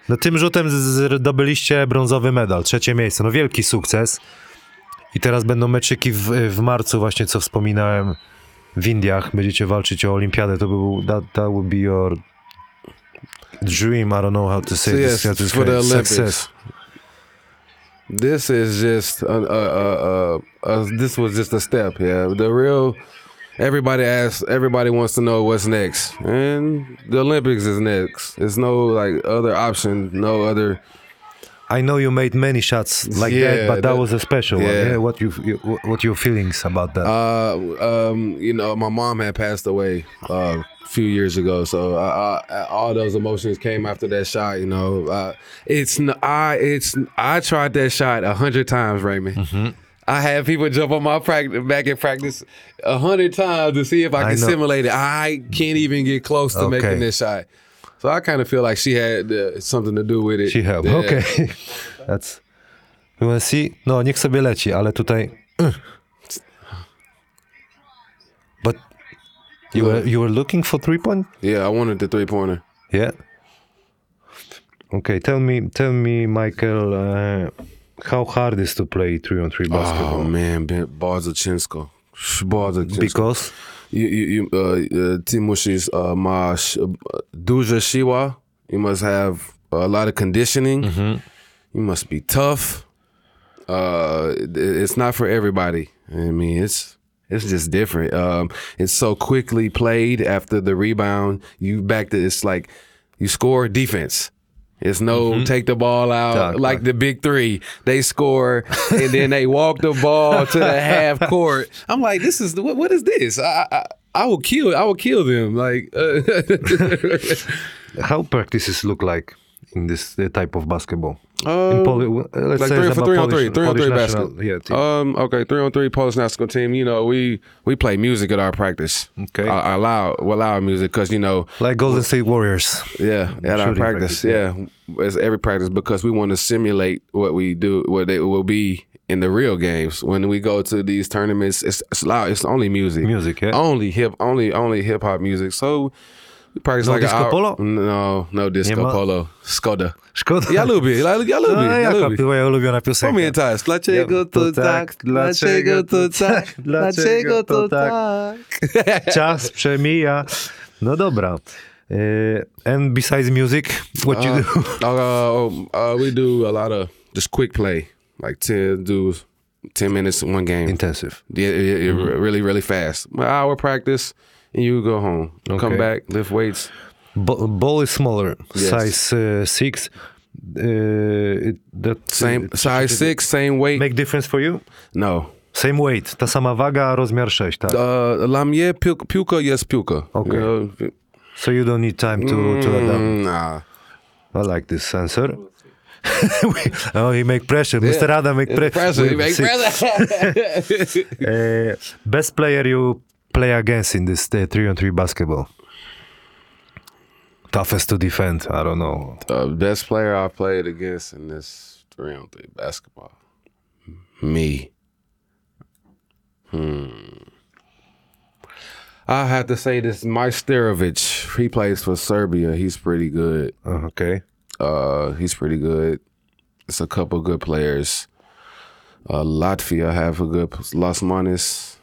S1: No, tym rzutem z- z- zdobyliście brązowy medal, trzecie miejsce. No wielki sukces. I teraz będą meczyki w, w marcu, właśnie co wspominałem, w Indiach. Będziecie walczyć o olimpiadę. To by był, that, that would be your dream. I don't know how to say
S2: Yes,
S1: this. how to
S2: for the
S1: say
S2: Olympics.
S1: Success.
S2: This is just, a, a, a, a, a, this was just a step, yeah. The real, everybody asks, everybody wants to know what's next. And the Olympics is next. There's no, like, other option, no other.
S1: I know you made many shots like that,
S2: Yeah,
S1: but that
S2: that-
S1: was a special one.
S2: yeah.
S1: Yeah? What you, you what your feelings about that?
S2: Uh, um, you know, my mom had passed away uh, a few years ago, so I, I, all those emotions came after that shot. You know, uh, it's n- I it's I tried that shot a hundred times, Raymond.
S1: Mm-hmm.
S2: I had people jump on my practice back in practice a hundred times to see if I
S1: I
S2: can
S1: know.
S2: simulate it. I can't even get close to
S1: Okay.
S2: making this shot. So I kind of feel like she had uh, something to do with it.
S1: She helped.
S2: Yeah.
S1: Okay. That's. You wanna see? No, niech sobie leci, ale tutaj. But you were you were looking for three point?
S2: Yeah, I wanted the three pointer.
S1: Yeah. Okay, tell me, tell me, Michael, uh, how hard is to play three on three
S2: Oh
S1: basketball?
S2: man, Barzachenko. Barzachenko.
S1: because
S2: you, you, you uh, uh, Timushi's uh, Ma Sh- uh, Duja Shiwa. You must have a lot of conditioning. You must be tough. Uh, it- it's not for everybody. I mean, it's it's just different. Um, it's so quickly played after the rebound. You back to it's like you score defense. It's no take the ball out
S1: Tak,
S2: like the big three. They score and then they walk the ball to the half court. I'm like, this is what, what is this? I, I I will kill I will kill them. Like uh,
S1: how practices look like in this uh, type of basketball?
S2: um,
S1: in Poli- let's
S2: like
S1: say
S2: three
S1: it's
S2: for
S1: about
S2: three on
S1: Polish-
S2: three, three on
S1: Polish
S2: three
S1: national-
S2: basket.
S1: Yeah, team.
S2: um, okay, three on three Polish national team. You know, we we play music at our practice.
S1: Okay.
S2: I, I allow we allow music because you know
S1: like Golden State Warriors.
S2: Yeah, at our
S1: shooting
S2: practice.
S1: practice,
S2: yeah, it's every practice because we want to simulate what we do, what it will be in the real games. When we go to these tournaments, it's, it's loud. It's only music,
S1: Music, yeah.
S2: only hip, only only hip hop music. So Practice
S1: No
S2: like an
S1: disco
S2: hour-
S1: polo?
S2: No, no disco
S1: Nie ma-
S2: polo. Skoda.
S1: Szkoda.
S2: Ja lubię, ja, ja lubię,
S1: no,
S2: ja
S1: jaka
S2: lubię.
S1: była ja ulubiona piosenka.
S2: Pamiętasz, dlaczego to tak, dlaczego to tak, dlaczego to tak.
S1: Czas przemija. No dobra. Y, and besides music, what you do?
S2: Uh, uh, we do a lot of just quick play, like 10, do 10 minutes, one game.
S1: Intensive.
S2: Yeah, yeah, yeah,
S1: Mm-hmm.
S2: really, really fast. An hour practice, and you go home.
S1: Okay.
S2: Come back, lift weights.
S1: Bo- ball is smaller,
S2: Yes.
S1: size uh, six. Uh, it- that,
S2: Same size six, same weight.
S1: Make difference for you?
S2: no.
S1: Same weight, ta sama waga, rozmiar 6, tak?
S2: Uh, dla mnie pił- piłka jest piłka.
S1: Okay.
S2: You know,
S1: So you don't need time to, to adapt.
S2: mm, nah.
S1: I like this sensor. oh, he make pressure. Mr. Adam make pre-
S2: Pressure,
S1: with
S2: you make
S1: six.
S2: pressure.
S1: Uh, best player you play against in this uh, three on three basketball. Toughest to defend. I don't know.
S2: Uh, best player I've played against in this three on three basketball. Me. Hmm. I have to say this Majsterovic. He plays for Serbia. He's pretty good.
S1: Uh, okay.
S2: Uh, he's pretty good. It's a couple good players. Uh, Latvia have a good Lasmanis.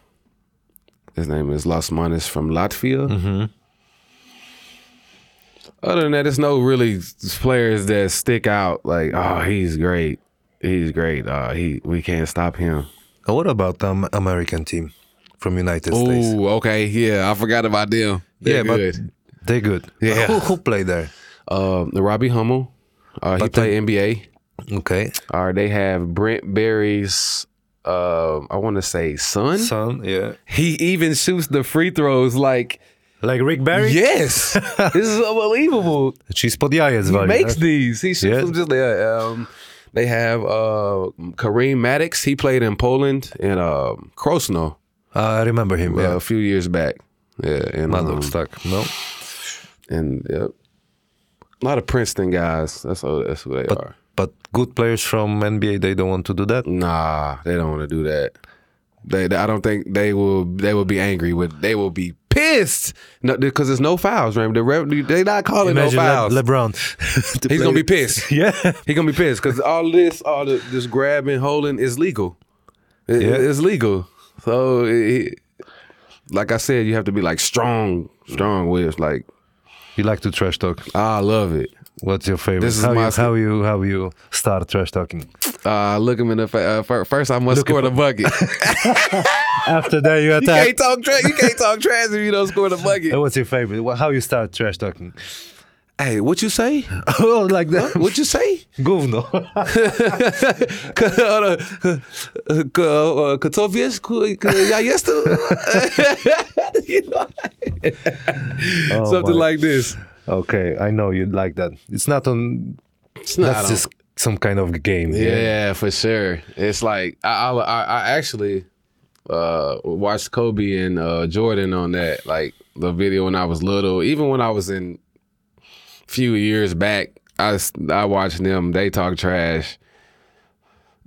S2: His name is Lasmanis from Latvia. Other than that, there's no really players that stick out. Like, oh, he's great. He's great. Uh, he we can't stop him.
S1: Uh, What about the um, American team from United States?
S2: Oh, okay, yeah, I forgot about them. They're
S1: Yeah, but-
S2: good.
S1: They good.
S2: Yeah.
S1: Who, who play there?
S2: Um, the Robbie Hummel, uh, he
S1: But the-
S2: played NBA.
S1: Okay.
S2: Or they have Brent Berry's, um, I want to say son.
S1: Son. Yeah.
S2: He even shoots the free throws like
S1: Like Rick Barry?
S2: yes, this is unbelievable.
S1: Czyli pod jaje
S2: He
S1: zwali,
S2: makes
S1: tak?
S2: these. He shoots
S1: Yeah.
S2: them just yeah, um, They have uh, Kareem Maddox. He played in Poland and um, Krosno
S1: I remember him.
S2: uh,
S1: Yeah.
S2: a few years back. Yeah, and
S1: Maddox,
S2: um,
S1: tak. No.
S2: and yep. a lot of Princeton guys. That's all, that's who they are.
S1: But good players from NBA, they don't want to do that.
S2: Nah, they don't want to do that. They, I don't think they will. They will be angry with. They will be pissed. No, because there's no fouls, right? The ref, they not calling
S1: Imagine
S2: no fouls.
S1: Le- LeBron. To
S2: He's
S1: play-
S2: gonna be pissed.
S1: Yeah.
S2: He gonna be pissed because all this, all the, this grabbing, holding is legal. It-
S1: Yeah.
S2: It's legal. So, it, like I said, you have to be like strong, strong with. Like
S1: You like to trash talk.
S2: I love it.
S1: What's your favorite?
S2: This is
S1: how,
S2: my
S1: you,
S2: sk-
S1: how you how you start trash talking?
S2: Uh, look him in the fa- uh, fir- first. I must score the bucket.
S1: After that, you
S2: you
S1: attack.
S2: can't talk trash. You can't talk trash if you don't score the bucket.
S1: Uh, What's your favorite? Wha- How you start trash talking?
S2: Hey, what you say?
S1: oh, like that?
S2: What you say?
S1: Gówno.
S2: uh, Katowiec? Ja jestem? You know,
S1: Oh,
S2: Something
S1: my-
S2: like this.
S1: Okay, I know you like that. It's not on.
S2: It's not
S1: that's just some kind of game.
S2: Yeah, for sure. It's like I I, I I actually uh, watched Kobe and uh, Jordan on that, like the video when I was little. Even when I was in few years back, I s- I watched them. They talk trash,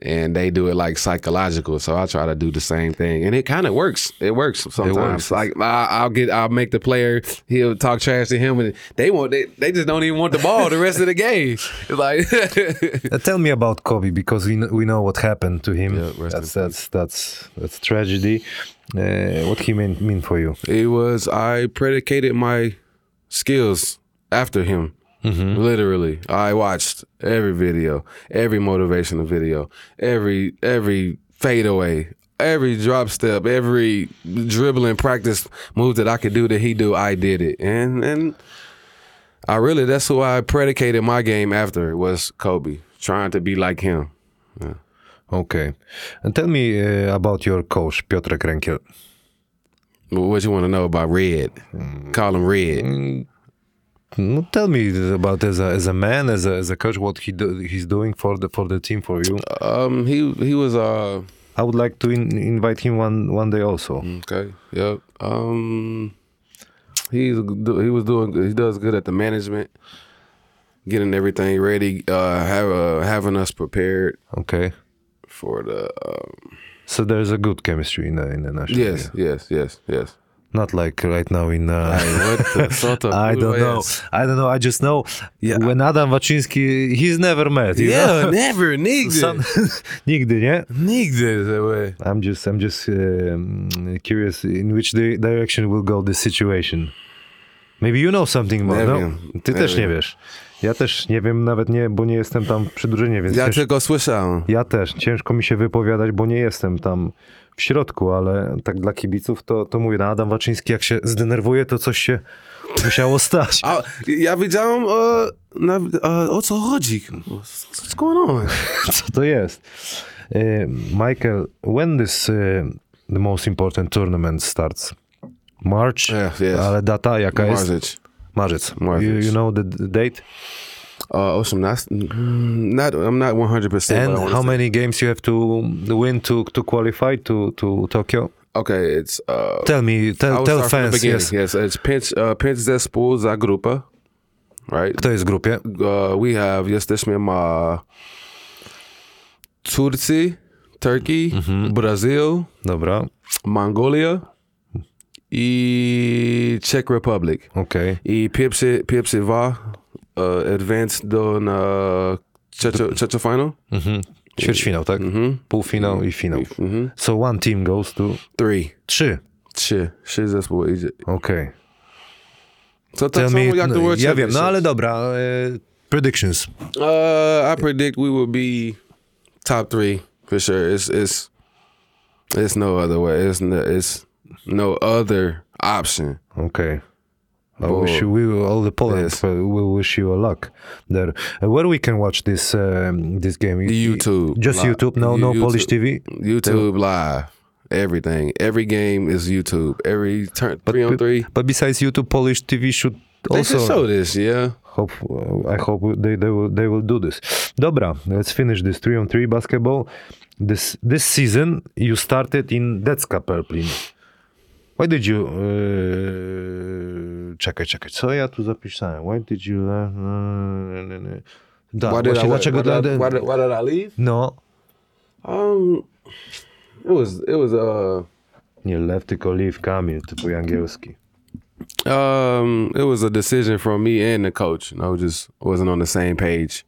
S2: and they do it like psychological. So I try to do the same thing, and it kind of works. It works sometimes.
S1: works.
S2: Like I, I'll get I'll make the player. He'll talk trash to him, and they want they, they just don't even want the ball the rest of the game. It's like.
S1: Uh, tell me about Kobe because we know, we know what happened to him.
S2: Yeah, rest in
S1: that's that's that's that's tragedy. Uh, what he mean mean for you?
S2: It was I predicated my skills after him. Literally, I watched every video, every motivational video, every every fadeaway, every drop step, every dribbling practice move that I could do that he do. I did it, and and I really that's who I predicated my game after was Kobe, trying to be like him.
S1: Okay, and tell me uh, about your coach Piotrek Renkiel.
S2: What you want to know about Red? Call him Red.
S1: Mm. No, tell me about as a as a man, as a as a coach, what he do, he's doing for the for the team for you.
S2: Um, he he was uh.
S1: I would like to in, invite him one one day also.
S2: Okay. Yep. Um, he's do- he was doing good. he does good at the management, getting everything ready, uh, have uh, having us prepared
S1: Okay,
S2: for the. Um,
S1: so there's a good chemistry in the in the national.
S2: yes, yes, yes, yes.
S1: Not like right now in. Uh,
S2: What the sort of
S1: I don't know. I don't know. I just know when Adam Waczyński, he's never met. You know?
S2: Yeah, never, nigdy.
S1: Some- Nigdy, nie?
S2: Nigdy, that way.
S1: I'm just, I'm just um, curious in which di- direction will go this situation. Maybe you know something more.
S2: Nie
S1: no?
S2: wiem,
S1: Ty
S2: nie
S1: też nie
S2: wiem.
S1: wiesz. Ja też nie wiem, nawet nie, bo nie jestem tam przy drużynie, więc
S2: Ja
S1: cięż,
S2: tylko słyszałem.
S1: ja też. Ciężko mi się wypowiadać, bo nie jestem tam w środku, ale tak dla kibiców to, to mówię, no Adam Waczyński jak się zdenerwuje, to coś się musiało stać.
S2: A, ja widziałem, e, na, e, o co chodzi? What's going on?
S1: Co to jest? E, Michael, when this e, the most important tournament starts? March?
S2: Yes, yes.
S1: Ale data jaka jest?
S2: Marzyć.
S1: Marzec.
S2: Marzec.
S1: You, you know the d- date?
S2: Uh, Ocean, that's mm, not. I'm not 100. percent
S1: And how many games you have to win to, to qualify to, to Tokyo?
S2: Okay, it's. Uh,
S1: Tell me,
S2: I
S1: tell,
S2: will
S1: tell
S2: start from the
S1: fans,
S2: beginning.
S1: yes.
S2: yes. It's pinch. Uh, pinch zespół za grupa, right?
S1: Kto jest w grupie?
S2: Uh, we have jesteśmy ma Turcji, Turkey,
S1: Mhm.
S2: Brazil,
S1: Dobra,
S2: Mongolia i Czech Republic.
S1: okej.
S2: I pierwszy, pierwszy dwa uh, advance do na trzecio, trzecio final.
S1: Mhm. Ćwierćfinał, tak? Półfinał i finał.
S2: Mhm.
S1: So one team goes to...
S2: Three.
S1: Trzy.
S2: Trzy. Trzy zespoły idzie.
S1: Okej.
S2: So
S1: Tell
S2: tak samo jak the World
S1: ja wiem, no
S2: Championships.
S1: ale dobra. e, predictions.
S2: Uh, I predict we will be top three for sure. It's it's it's no other way. It's no, it's no other option.
S1: Okay. I
S2: Bo-
S1: wish you, we will- all the Poland.
S2: Yes.
S1: We will wish you a luck there. Uh, where we can watch this um, this game?
S2: YouTube,
S1: Just
S2: live.
S1: YouTube. No, no
S2: YouTube.
S1: Polish TV.
S2: YouTube live, everything, every game is YouTube. Every turn three on three.
S1: But besides YouTube, Polish TV should
S2: They should
S1: also.
S2: show this, yeah.
S1: Hope, I hope they, they will they will do this. Dobra, let's finish this three on three basketball. This this season you started in Decka Pelplin. Why did you? Yy, czekaj, czekaj. Co ja tu zapisałem? Why did you? Yy, da,
S2: Why did,
S1: właśnie,
S2: I, why,
S1: dlaczego?
S2: did I,
S1: dla-
S2: why, did, why did I leave?
S1: No,
S2: Um, it was it was uh
S1: nie lew, tylko leave, Kamil, typu angielski.
S2: Um, it was a decision from me and the coach. And I was just wasn't on the same page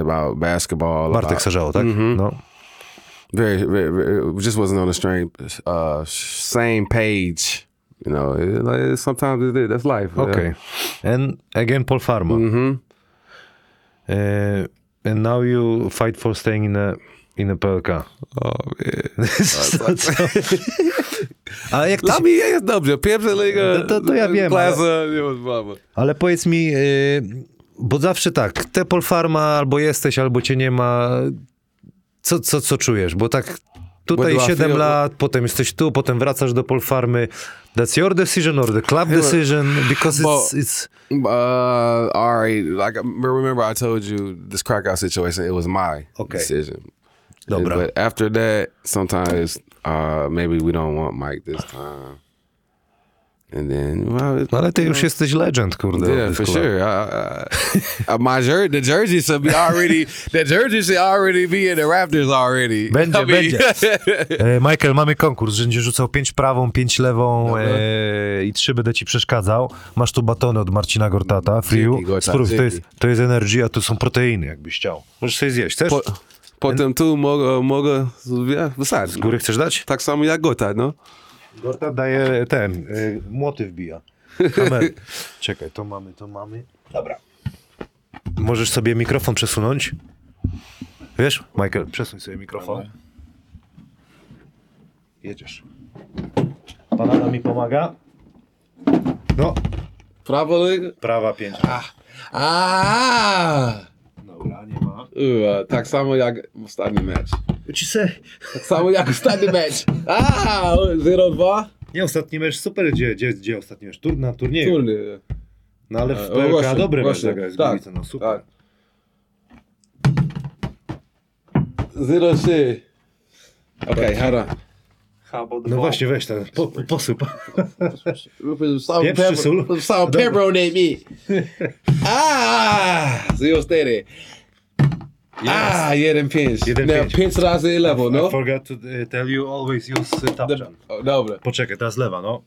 S2: about basketball.
S1: Bartek
S2: about-
S1: Sarzało, tak? No.
S2: very, very, very- just wasn't on the same uh, same page. You know, it, like, it- sometimes it is. That's life.
S1: Okay. And again, Paul Farmer.
S2: hmm
S1: Uh, and now you fight for staying in a in a PLK.
S2: Oh man.
S1: Co- co? A jak ty się,
S2: Dla mnie jest dobrze. Pierwsza liga,
S1: No to- to ja wiem,
S2: klasa, nie ma sprawy.
S1: ale powiedz mi, y, bo zawsze tak, te Polfarma albo jesteś, albo cię nie ma. Co, co, co czujesz? Bo tak tutaj
S2: Bo dwa
S1: 7
S2: fio-
S1: lat, potem jesteś tu, potem wracasz do Polfarmy. That's your decision or the club decision because
S2: Bo-
S1: it's, it's
S2: Uh, all right. Like remember, I told you this crackout situation. It was my
S1: Okay.
S2: decision.
S1: Dobra.
S2: But after that, sometimes uh, maybe we don't want Mike this time. And then, well, it-
S1: No ale ty już jesteś legend, kurde. of
S2: yeah,
S1: this
S2: for
S1: club.
S2: sure. I, I, I, my jer- the jersey should be already. the jersey should already be in the Raptors already.
S1: Będzie,
S2: I mean,
S1: E, Michael, mamy konkurs, że będziesz rzucał 5 prawą, 5 lewą e, i 3 będę ci przeszkadzał. Masz tu batony od Marcina Gortata, Friu.
S2: Dzięki, Gortat,
S1: Spróbuj, to
S2: dzięki.
S1: jest, to jest energia, tu są proteiny, jakbyś chciał. Możesz sobie zjeść, chcesz?
S2: po, potem tu mogę, mogę ja, wysadzić.
S1: Z góry chcesz dać?
S2: Tak samo jak Gota, no.
S1: Gortat daje ten, e, młoty wbija. Kamer. Czekaj, to mamy, to mamy. Dobra. Możesz sobie mikrofon przesunąć? Wiesz, Michael, przesuń sobie mikrofon. Jedziesz. Panada mi pomaga. No,
S2: Prawo liga? Ah!
S1: prawa pięć.
S2: A,
S1: Dobra, nie ma.
S2: Uwa, tak samo jak ostatni mecz.
S1: What you say?
S2: Tak samo jak ostatni mecz. A, 0-2.
S1: Nie, ostatni mecz super, gdzie, gdzie, gdzie ostatni mecz? Tur, na turnieju.
S2: Turny.
S1: No ale w
S2: O,
S1: PLK
S2: E, właśnie,
S1: dobry mecz
S2: właśnie,
S1: zagrać z
S2: tak,
S1: Gliwicą, no super.
S2: tak. 0-3. Okej, hold on.
S1: No właśnie, weź ten, po, posyp.
S2: Some
S1: Pieprz czy sól?
S2: Some pepperoni mi. Ah, 0-4. Ah, jeden pięć.
S1: Jeden
S2: Miałem
S1: pięć.
S2: pięć razy lewo,
S1: No?
S2: no.
S1: I forgot to uh, tell you, always use uh,
S2: Do-
S1: tapczan.
S2: o, Dobra.
S1: Poczekaj, teraz lewa, no.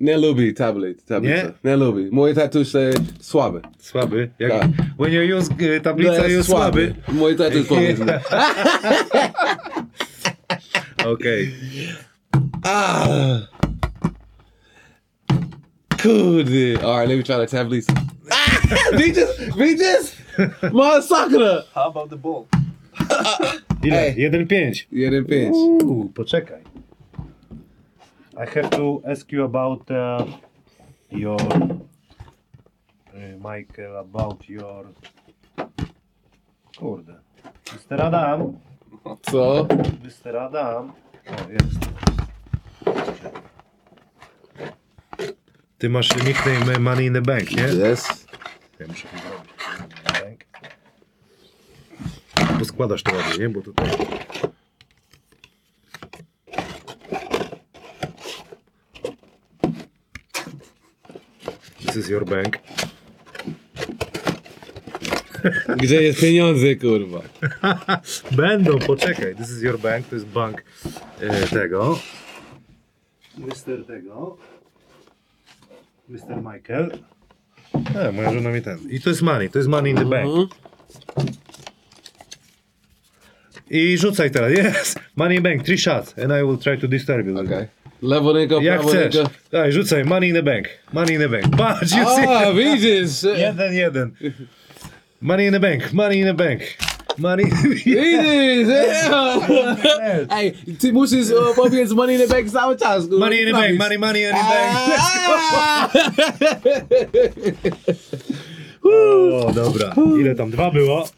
S2: Nie lubi tablet, tablica.
S1: Nie?
S2: Nie lubi. Moje tatuś jest słaby.
S1: Słaby. Jak,
S2: Tak. No,
S1: When you use y, tablica,
S2: jest
S1: you słaby.
S2: Moje tatuś słaby.
S1: Okej.
S2: Ah. Kurde. All right, let me try the tablica. Ah! Bitches, bitches, masakra.
S3: How about the ball?
S1: Ile?
S2: Ej.
S1: 1,5.
S2: Jeden pięć.
S1: Uuu,
S3: Poczekaj. I have to ask you about uh, your
S1: y,
S3: uh, Michael, about your kurde. Mr. Adam,
S2: Co?
S3: Mr. Adam. O, jest.
S1: Ty masz nickname Money in the Bank, nie?
S2: Yes.
S1: Ja muszę to zrobić. Bank. Poskładasz to ładnie, nie? Bo tutaj... This is your bank.
S2: Gdzie jest pieniądze, kurwa?
S1: Będą, poczekaj. This is your bank, to jest bank e, tego.
S3: Mr. tego. Mr. Michael.
S1: A, E, moja żona mi ten. I to jest money, to jest money in the bank.
S2: Mhm.
S1: I rzucaj teraz, yes! Money in bank, three shots, and I will try to disturb you.
S2: Okay. Lewo ręka,
S1: Jak
S2: prawo
S1: chcesz.
S2: ręka.
S1: Daj, rzucaj, money in the bank, money in the bank. Patrz, you see?
S2: A, widzisz.
S1: Jeden, jeden. Money in the bank, money in the bank. Money...
S2: Widzisz. Ej, ty musisz e, powiedz money in the bank cały czas. kurwa.
S1: Money in the bank, money, money in the bank.
S2: Ah.
S1: O, dobra. Ile tam? Dwa było?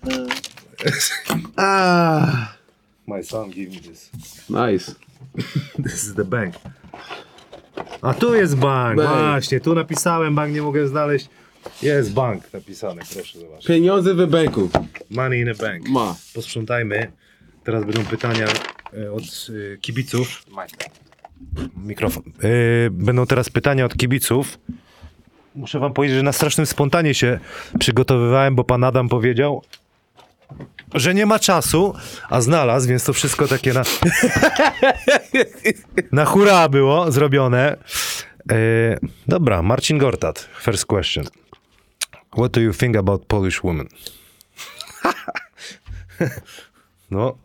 S2: Ah.
S1: My son give me this.
S2: Nice.
S1: This is the bank. A tu jest bank,
S2: Bank.
S1: właśnie. Tu napisałem bank, nie mogę znaleźć. Jest bank napisany, proszę zobaczyć.
S2: Pieniądze w banku.
S1: Money in a bank.
S2: oh. Ma.
S1: Posprzątajmy. Teraz będą pytania e, od e, kibiców. Mikrofon. E, Będą teraz pytania od kibiców. Muszę wam powiedzieć, że na strasznym spontanie się przygotowywałem, bo pan Adam powiedział, że nie ma czasu, a znalazł, więc to wszystko takie na... na hura było zrobione. E, dobra, Marcin Gortat, first question. What do you think about Polish women? No,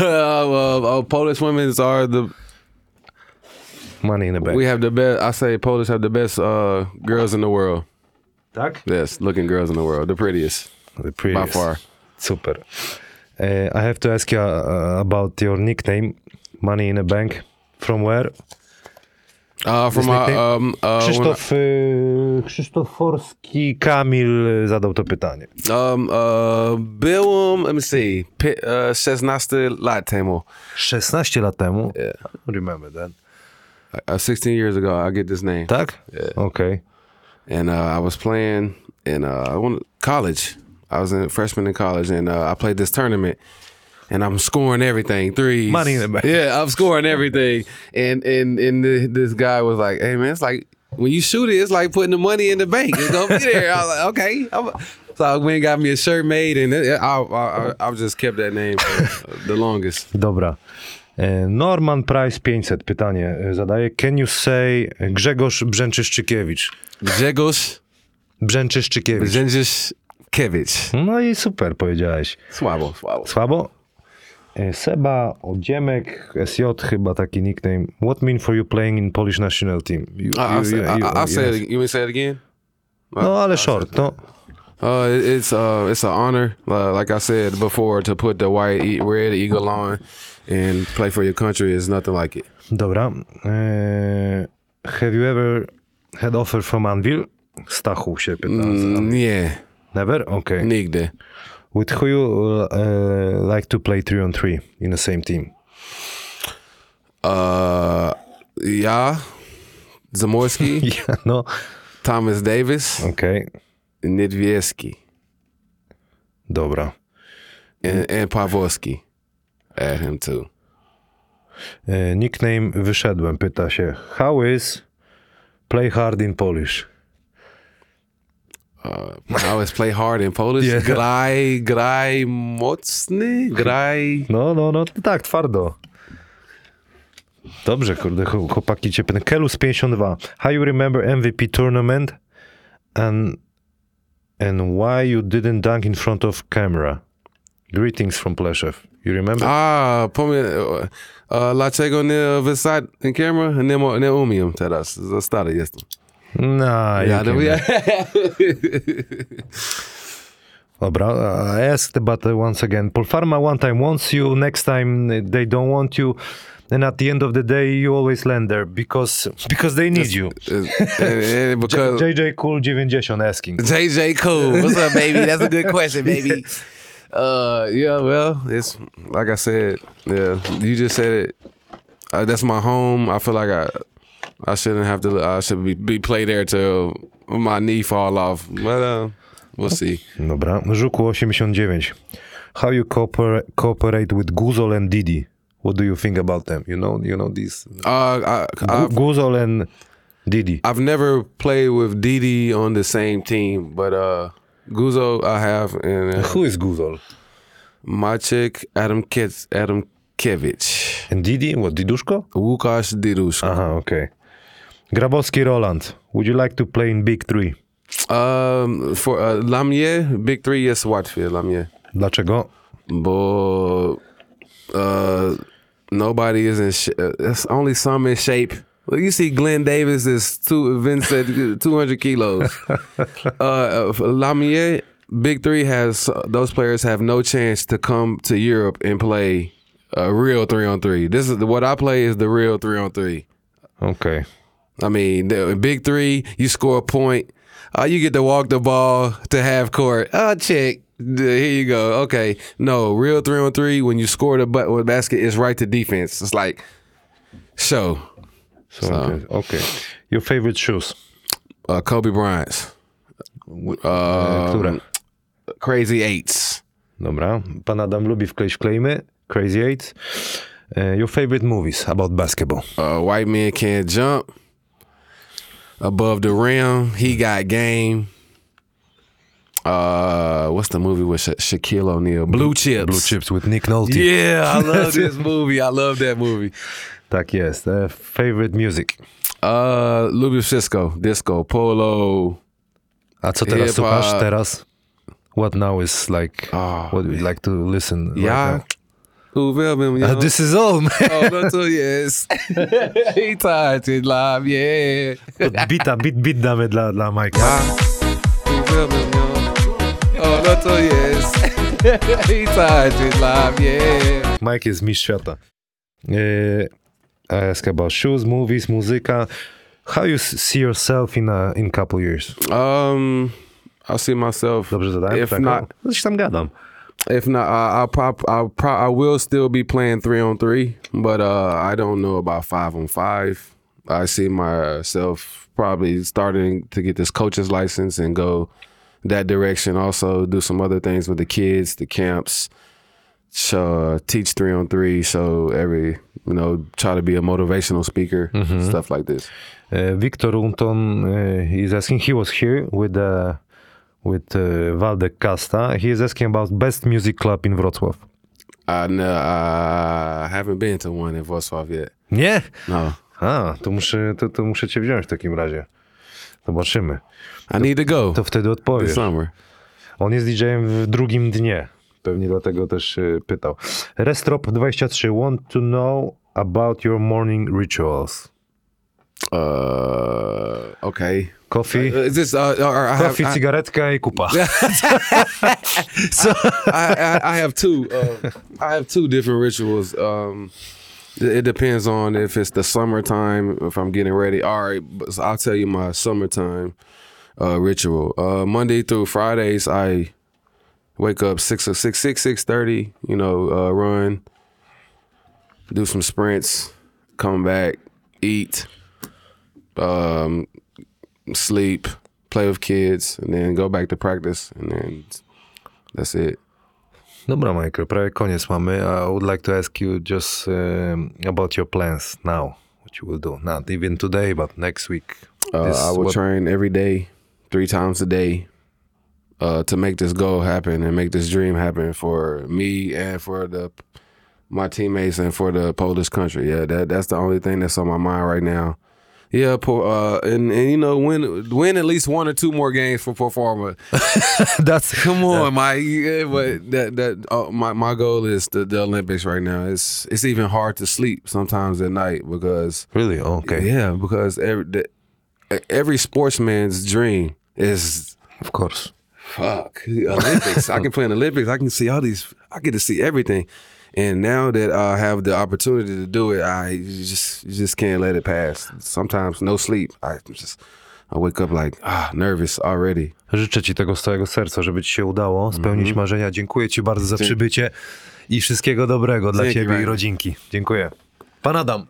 S2: Uh, well, uh, Polish women are the.
S1: money in the bank.
S2: We have the best. I say Polish have the best uh, girls in the world.
S1: Tak?
S2: Yes, looking girls in the world, the prettiest
S1: The previous.
S2: by far.
S1: Super. Uh, I have to ask you uh, about your nickname, Money in a Bank. From where?
S2: Uh, from
S1: Just
S2: my
S1: nickname?
S2: um, uh, when I-
S1: Krzysztof, y, Krzysztof Forski Kamil uh, zadał to pytanie.
S2: um, uh, byłam, let me see, pi- uh, 16 lat temu,
S1: 16 lat temu. Remember that.
S2: uh, 16 years ago, I get this name,
S1: Tak? Okej.
S2: and uh, I was playing in uh, I went- college. I was in freshman in college, and uh, I played this tournament, and I'm scoring everything threes.
S1: Money in the bank.
S2: Yeah, I'm scoring everything, and and and the, this guy was like, "Hey man, it's like when you shoot it, it's like putting the money in the bank. It's gonna be there." I was like, "Okay." I'm- so I went and got me a shirt made, and it, I, I I- I've just kept that name for uh, the longest.
S1: Dobra. E, Norman Price 500 pytanie e, zadaje. Can you say Grzegorz Brzęczyszczykiewicz?
S2: Grzegorz
S1: Brzęczyszczykiewicz.
S2: Brzędziszkiewicz.
S1: No i super powiedziałeś.
S2: Słabo, słabo.
S1: Słabo? E, Seba Odziemek, SJ chyba taki nickname. What mean for you playing in Polish national team? You,
S2: I, I,
S1: you-
S2: say,
S1: you-
S2: I,
S1: you-
S2: I, I say
S1: yes.
S2: it, you mean say it again?
S1: No ale short, no.
S2: Uh, it- it's uh, it's an honor, uh, like I said before, to put the white e- red eagle on and play for your country is nothing like it.
S1: Dobra. E, have you ever had offer from Anvil? Stachu się pyta.
S2: Mm, yeah,
S1: Never? Okej.
S2: nigdy.
S1: With who you uh, like to play 3 on 3 in the same team?
S2: Uh, yeah, Zamorski,
S1: Ja, no,
S2: Thomas Davis,
S1: okej.
S2: Nidvieski,
S1: Dobra.
S2: and, and Pavoski. Add him too.
S1: E, nickname wyszedłem, pyta się. How is play hard in Polish?
S2: Uh, I always play hard in Polish.
S1: Yeah.
S2: Graj, graj mocny, graj.
S1: No, no, no, tak, twardo. Dobrze, kurde, ch- chłopaki cię pytają. Kelus 52. How you remember MVP tournament and, and why you didn't dunk in front of camera? Greetings from Pleszew. You remember?
S2: Ah, pome, uh, dlaczego nie wysad in camera? Nie, mo, nie umiem teraz. Stary jestem.
S1: Nah, you
S2: Jadę,
S1: can-
S2: ja.
S1: Dobra, uh, I asked about uh, once again. Polpharma one time wants you, next time uh, they don't want you, and at the end of the day you always land there because because they need you.
S2: And- and because
S1: JJ Cool 90 asking.
S2: JJ Cool. What's up, baby? That's a good question, baby. Uh, yeah, well, it's like I said. Yeah, you just said it. Uh, that's my home. I feel like I, I shouldn't have to. I should be, be played there till my knee fall off. But uh, we'll see.
S1: Dobra, Żuku 89. How you cooper- cooperate with Guzol and Didi? What do you think about them? You know, you know these
S2: Uh, I, I,
S1: Gu- Guzol and Didi.
S2: I've never played with Didi on the same team, but uh, Guzo I have, and uh,
S1: Who is Guzol?
S2: my chick Adam Kitz, Adam Kevich,
S1: And Didi? What, Diduszko?
S2: Łukasz Diruszko.
S1: Aha, okej. Grabowski Roland. Would you like to play in Big Three?
S2: Um, for uh, Lamie, Big Three jest łatwiej dla mnie,
S1: Dlaczego?
S2: bo uh, nobody is in sh- uh, it's only some in shape. Well, you see, Glenn Davis is two. Vince said two hundred kilos. uh, Lamie, Big Three has uh, those players have no chance to come to Europe and play a real three on three. This is what I play is the real three on three.
S1: Okej.
S2: I mean, the big three, you score a point. Uh, you get to walk the ball to half court. Oh, check. D- Here you go. Okay. No, real three on three, when you score the but- with basket, it's right to defense. It's like, so,
S1: So,
S2: So.
S1: okay. okay. Your favorite shoes?
S2: uh, Kobe Bryant's uh,
S1: E, Które?
S2: crazy eights.
S1: Dobra. Pan Adam lubi wkleić wklejmy. Crazy Eight. E, Your favorite movies about basketball?
S2: Uh, white man can't jump above the rim. He got game. Uh, what's the movie with Sha- Shaquille O'Neal? Blue Chips.
S1: Blue Chips with Nick Nolte.
S2: Yeah, I love this movie. I love that movie.
S1: Tak jest. E, Favorite music?
S2: Uh Lubię Cisco, Disco, Polo.
S1: A co teraz
S2: Chyba-
S1: słuchasz teraz? What now is like
S2: Oh,
S1: what we'd like to listen
S2: Ja
S1: right
S2: uwielbiam
S1: now?
S2: ją.
S1: Uh, this is all, man.
S2: O, no to jest. I tańczy dla mnie.
S1: Bita, bit, bit damy dla, dla Majka.
S2: Ja uwielbiam ją. O, no to jest. I tańczy dla mnie.
S1: Mike jest mistrz świata. Yy, I ask about shoes, movies, muzyka. How you s- see yourself in a in couple years?
S2: Um, I see myself.
S1: Dobrze zadałem?
S2: If not-
S1: No, Coś tam gadam.
S2: If not, I, I pop. I pro, I will still be playing three on three, but uh, I don't know about five on five. I see myself probably starting to get this coach's license and go that direction. Also, do some other things with the kids, the camps. So teach three on three. So every you know, try to be a motivational speaker, stuff like this.
S1: Uh, Victor Unton uh, is asking, he was here with uh, with uh, Waldek Kasta. He is asking about best music club in Wrocław.
S2: I know I haven't been to one in Wrocław yet.
S1: Nie?
S2: No,
S1: A, to muszę, to, to muszę cię wziąć w takim razie. Zobaczymy.
S2: I need to go
S1: To wtedy
S2: this
S1: odpowiesz.
S2: summer.
S1: On jest DJ-em w drugim dnie. Pewnie dlatego też y, pytał. Restrop23, want to know about your morning rituals.
S2: Uh, okay.
S1: Coffee,
S2: Uh, Is this uh, or- or I, have,
S1: coffee,
S2: I,
S1: cigaretka i kupa.
S2: I, I, I have two. Uh, I have two different rituals. Um, it it depends on if it's the summertime, if I'm getting ready. All right, but I'll tell you my summertime uh, ritual. Uh, Monday through Fridays, I wake up six or six six six thirty. You know, uh, run, do some sprints, come back, eat, um, sleep, play with kids, and then go back to practice, and then that's it.
S1: Dobra, Michael, prawie koniec mamy. I would like to ask you just um, about your plans now. What you will do. Not even today, but next week.
S2: Uh,
S1: This-
S2: I will
S1: what-
S2: train every day, three times a day, uh, to make this goal happen and make this dream happen for me and for the my teammates and for the Polish country. Yeah, that that's the only thing that's on my mind right now. Yeah, po- uh, and, and you know win win at least one or two more games for performer.
S1: That's
S2: Come on, my yeah, but that that uh, my my goal is the, the Olympics right now. It's it's even hard to sleep sometimes at night because
S1: really Oh, okay.
S2: yeah because every the, every sportsman's dream is
S1: Of course.
S2: fuck Olympics. I can play in the Olympics. I can see all these. I get to see everything. And now that I have the opportunity to do it, I you just you just can't let it pass. Sometimes no sleep. I just I wake up like ah nervous already.
S1: Życzę ci tego z całego serca, żeby ci się udało spełnić marzenia. Dziękuję ci bardzo za przybycie i wszystkiego dobrego dla
S2: Dzięki,
S1: ciebie i
S2: Wojtek.
S1: rodzinki. Dziękuję. Pan Adam.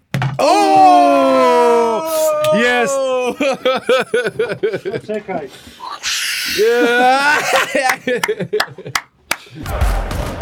S2: Yes.
S3: Czekaj.
S2: Yeah.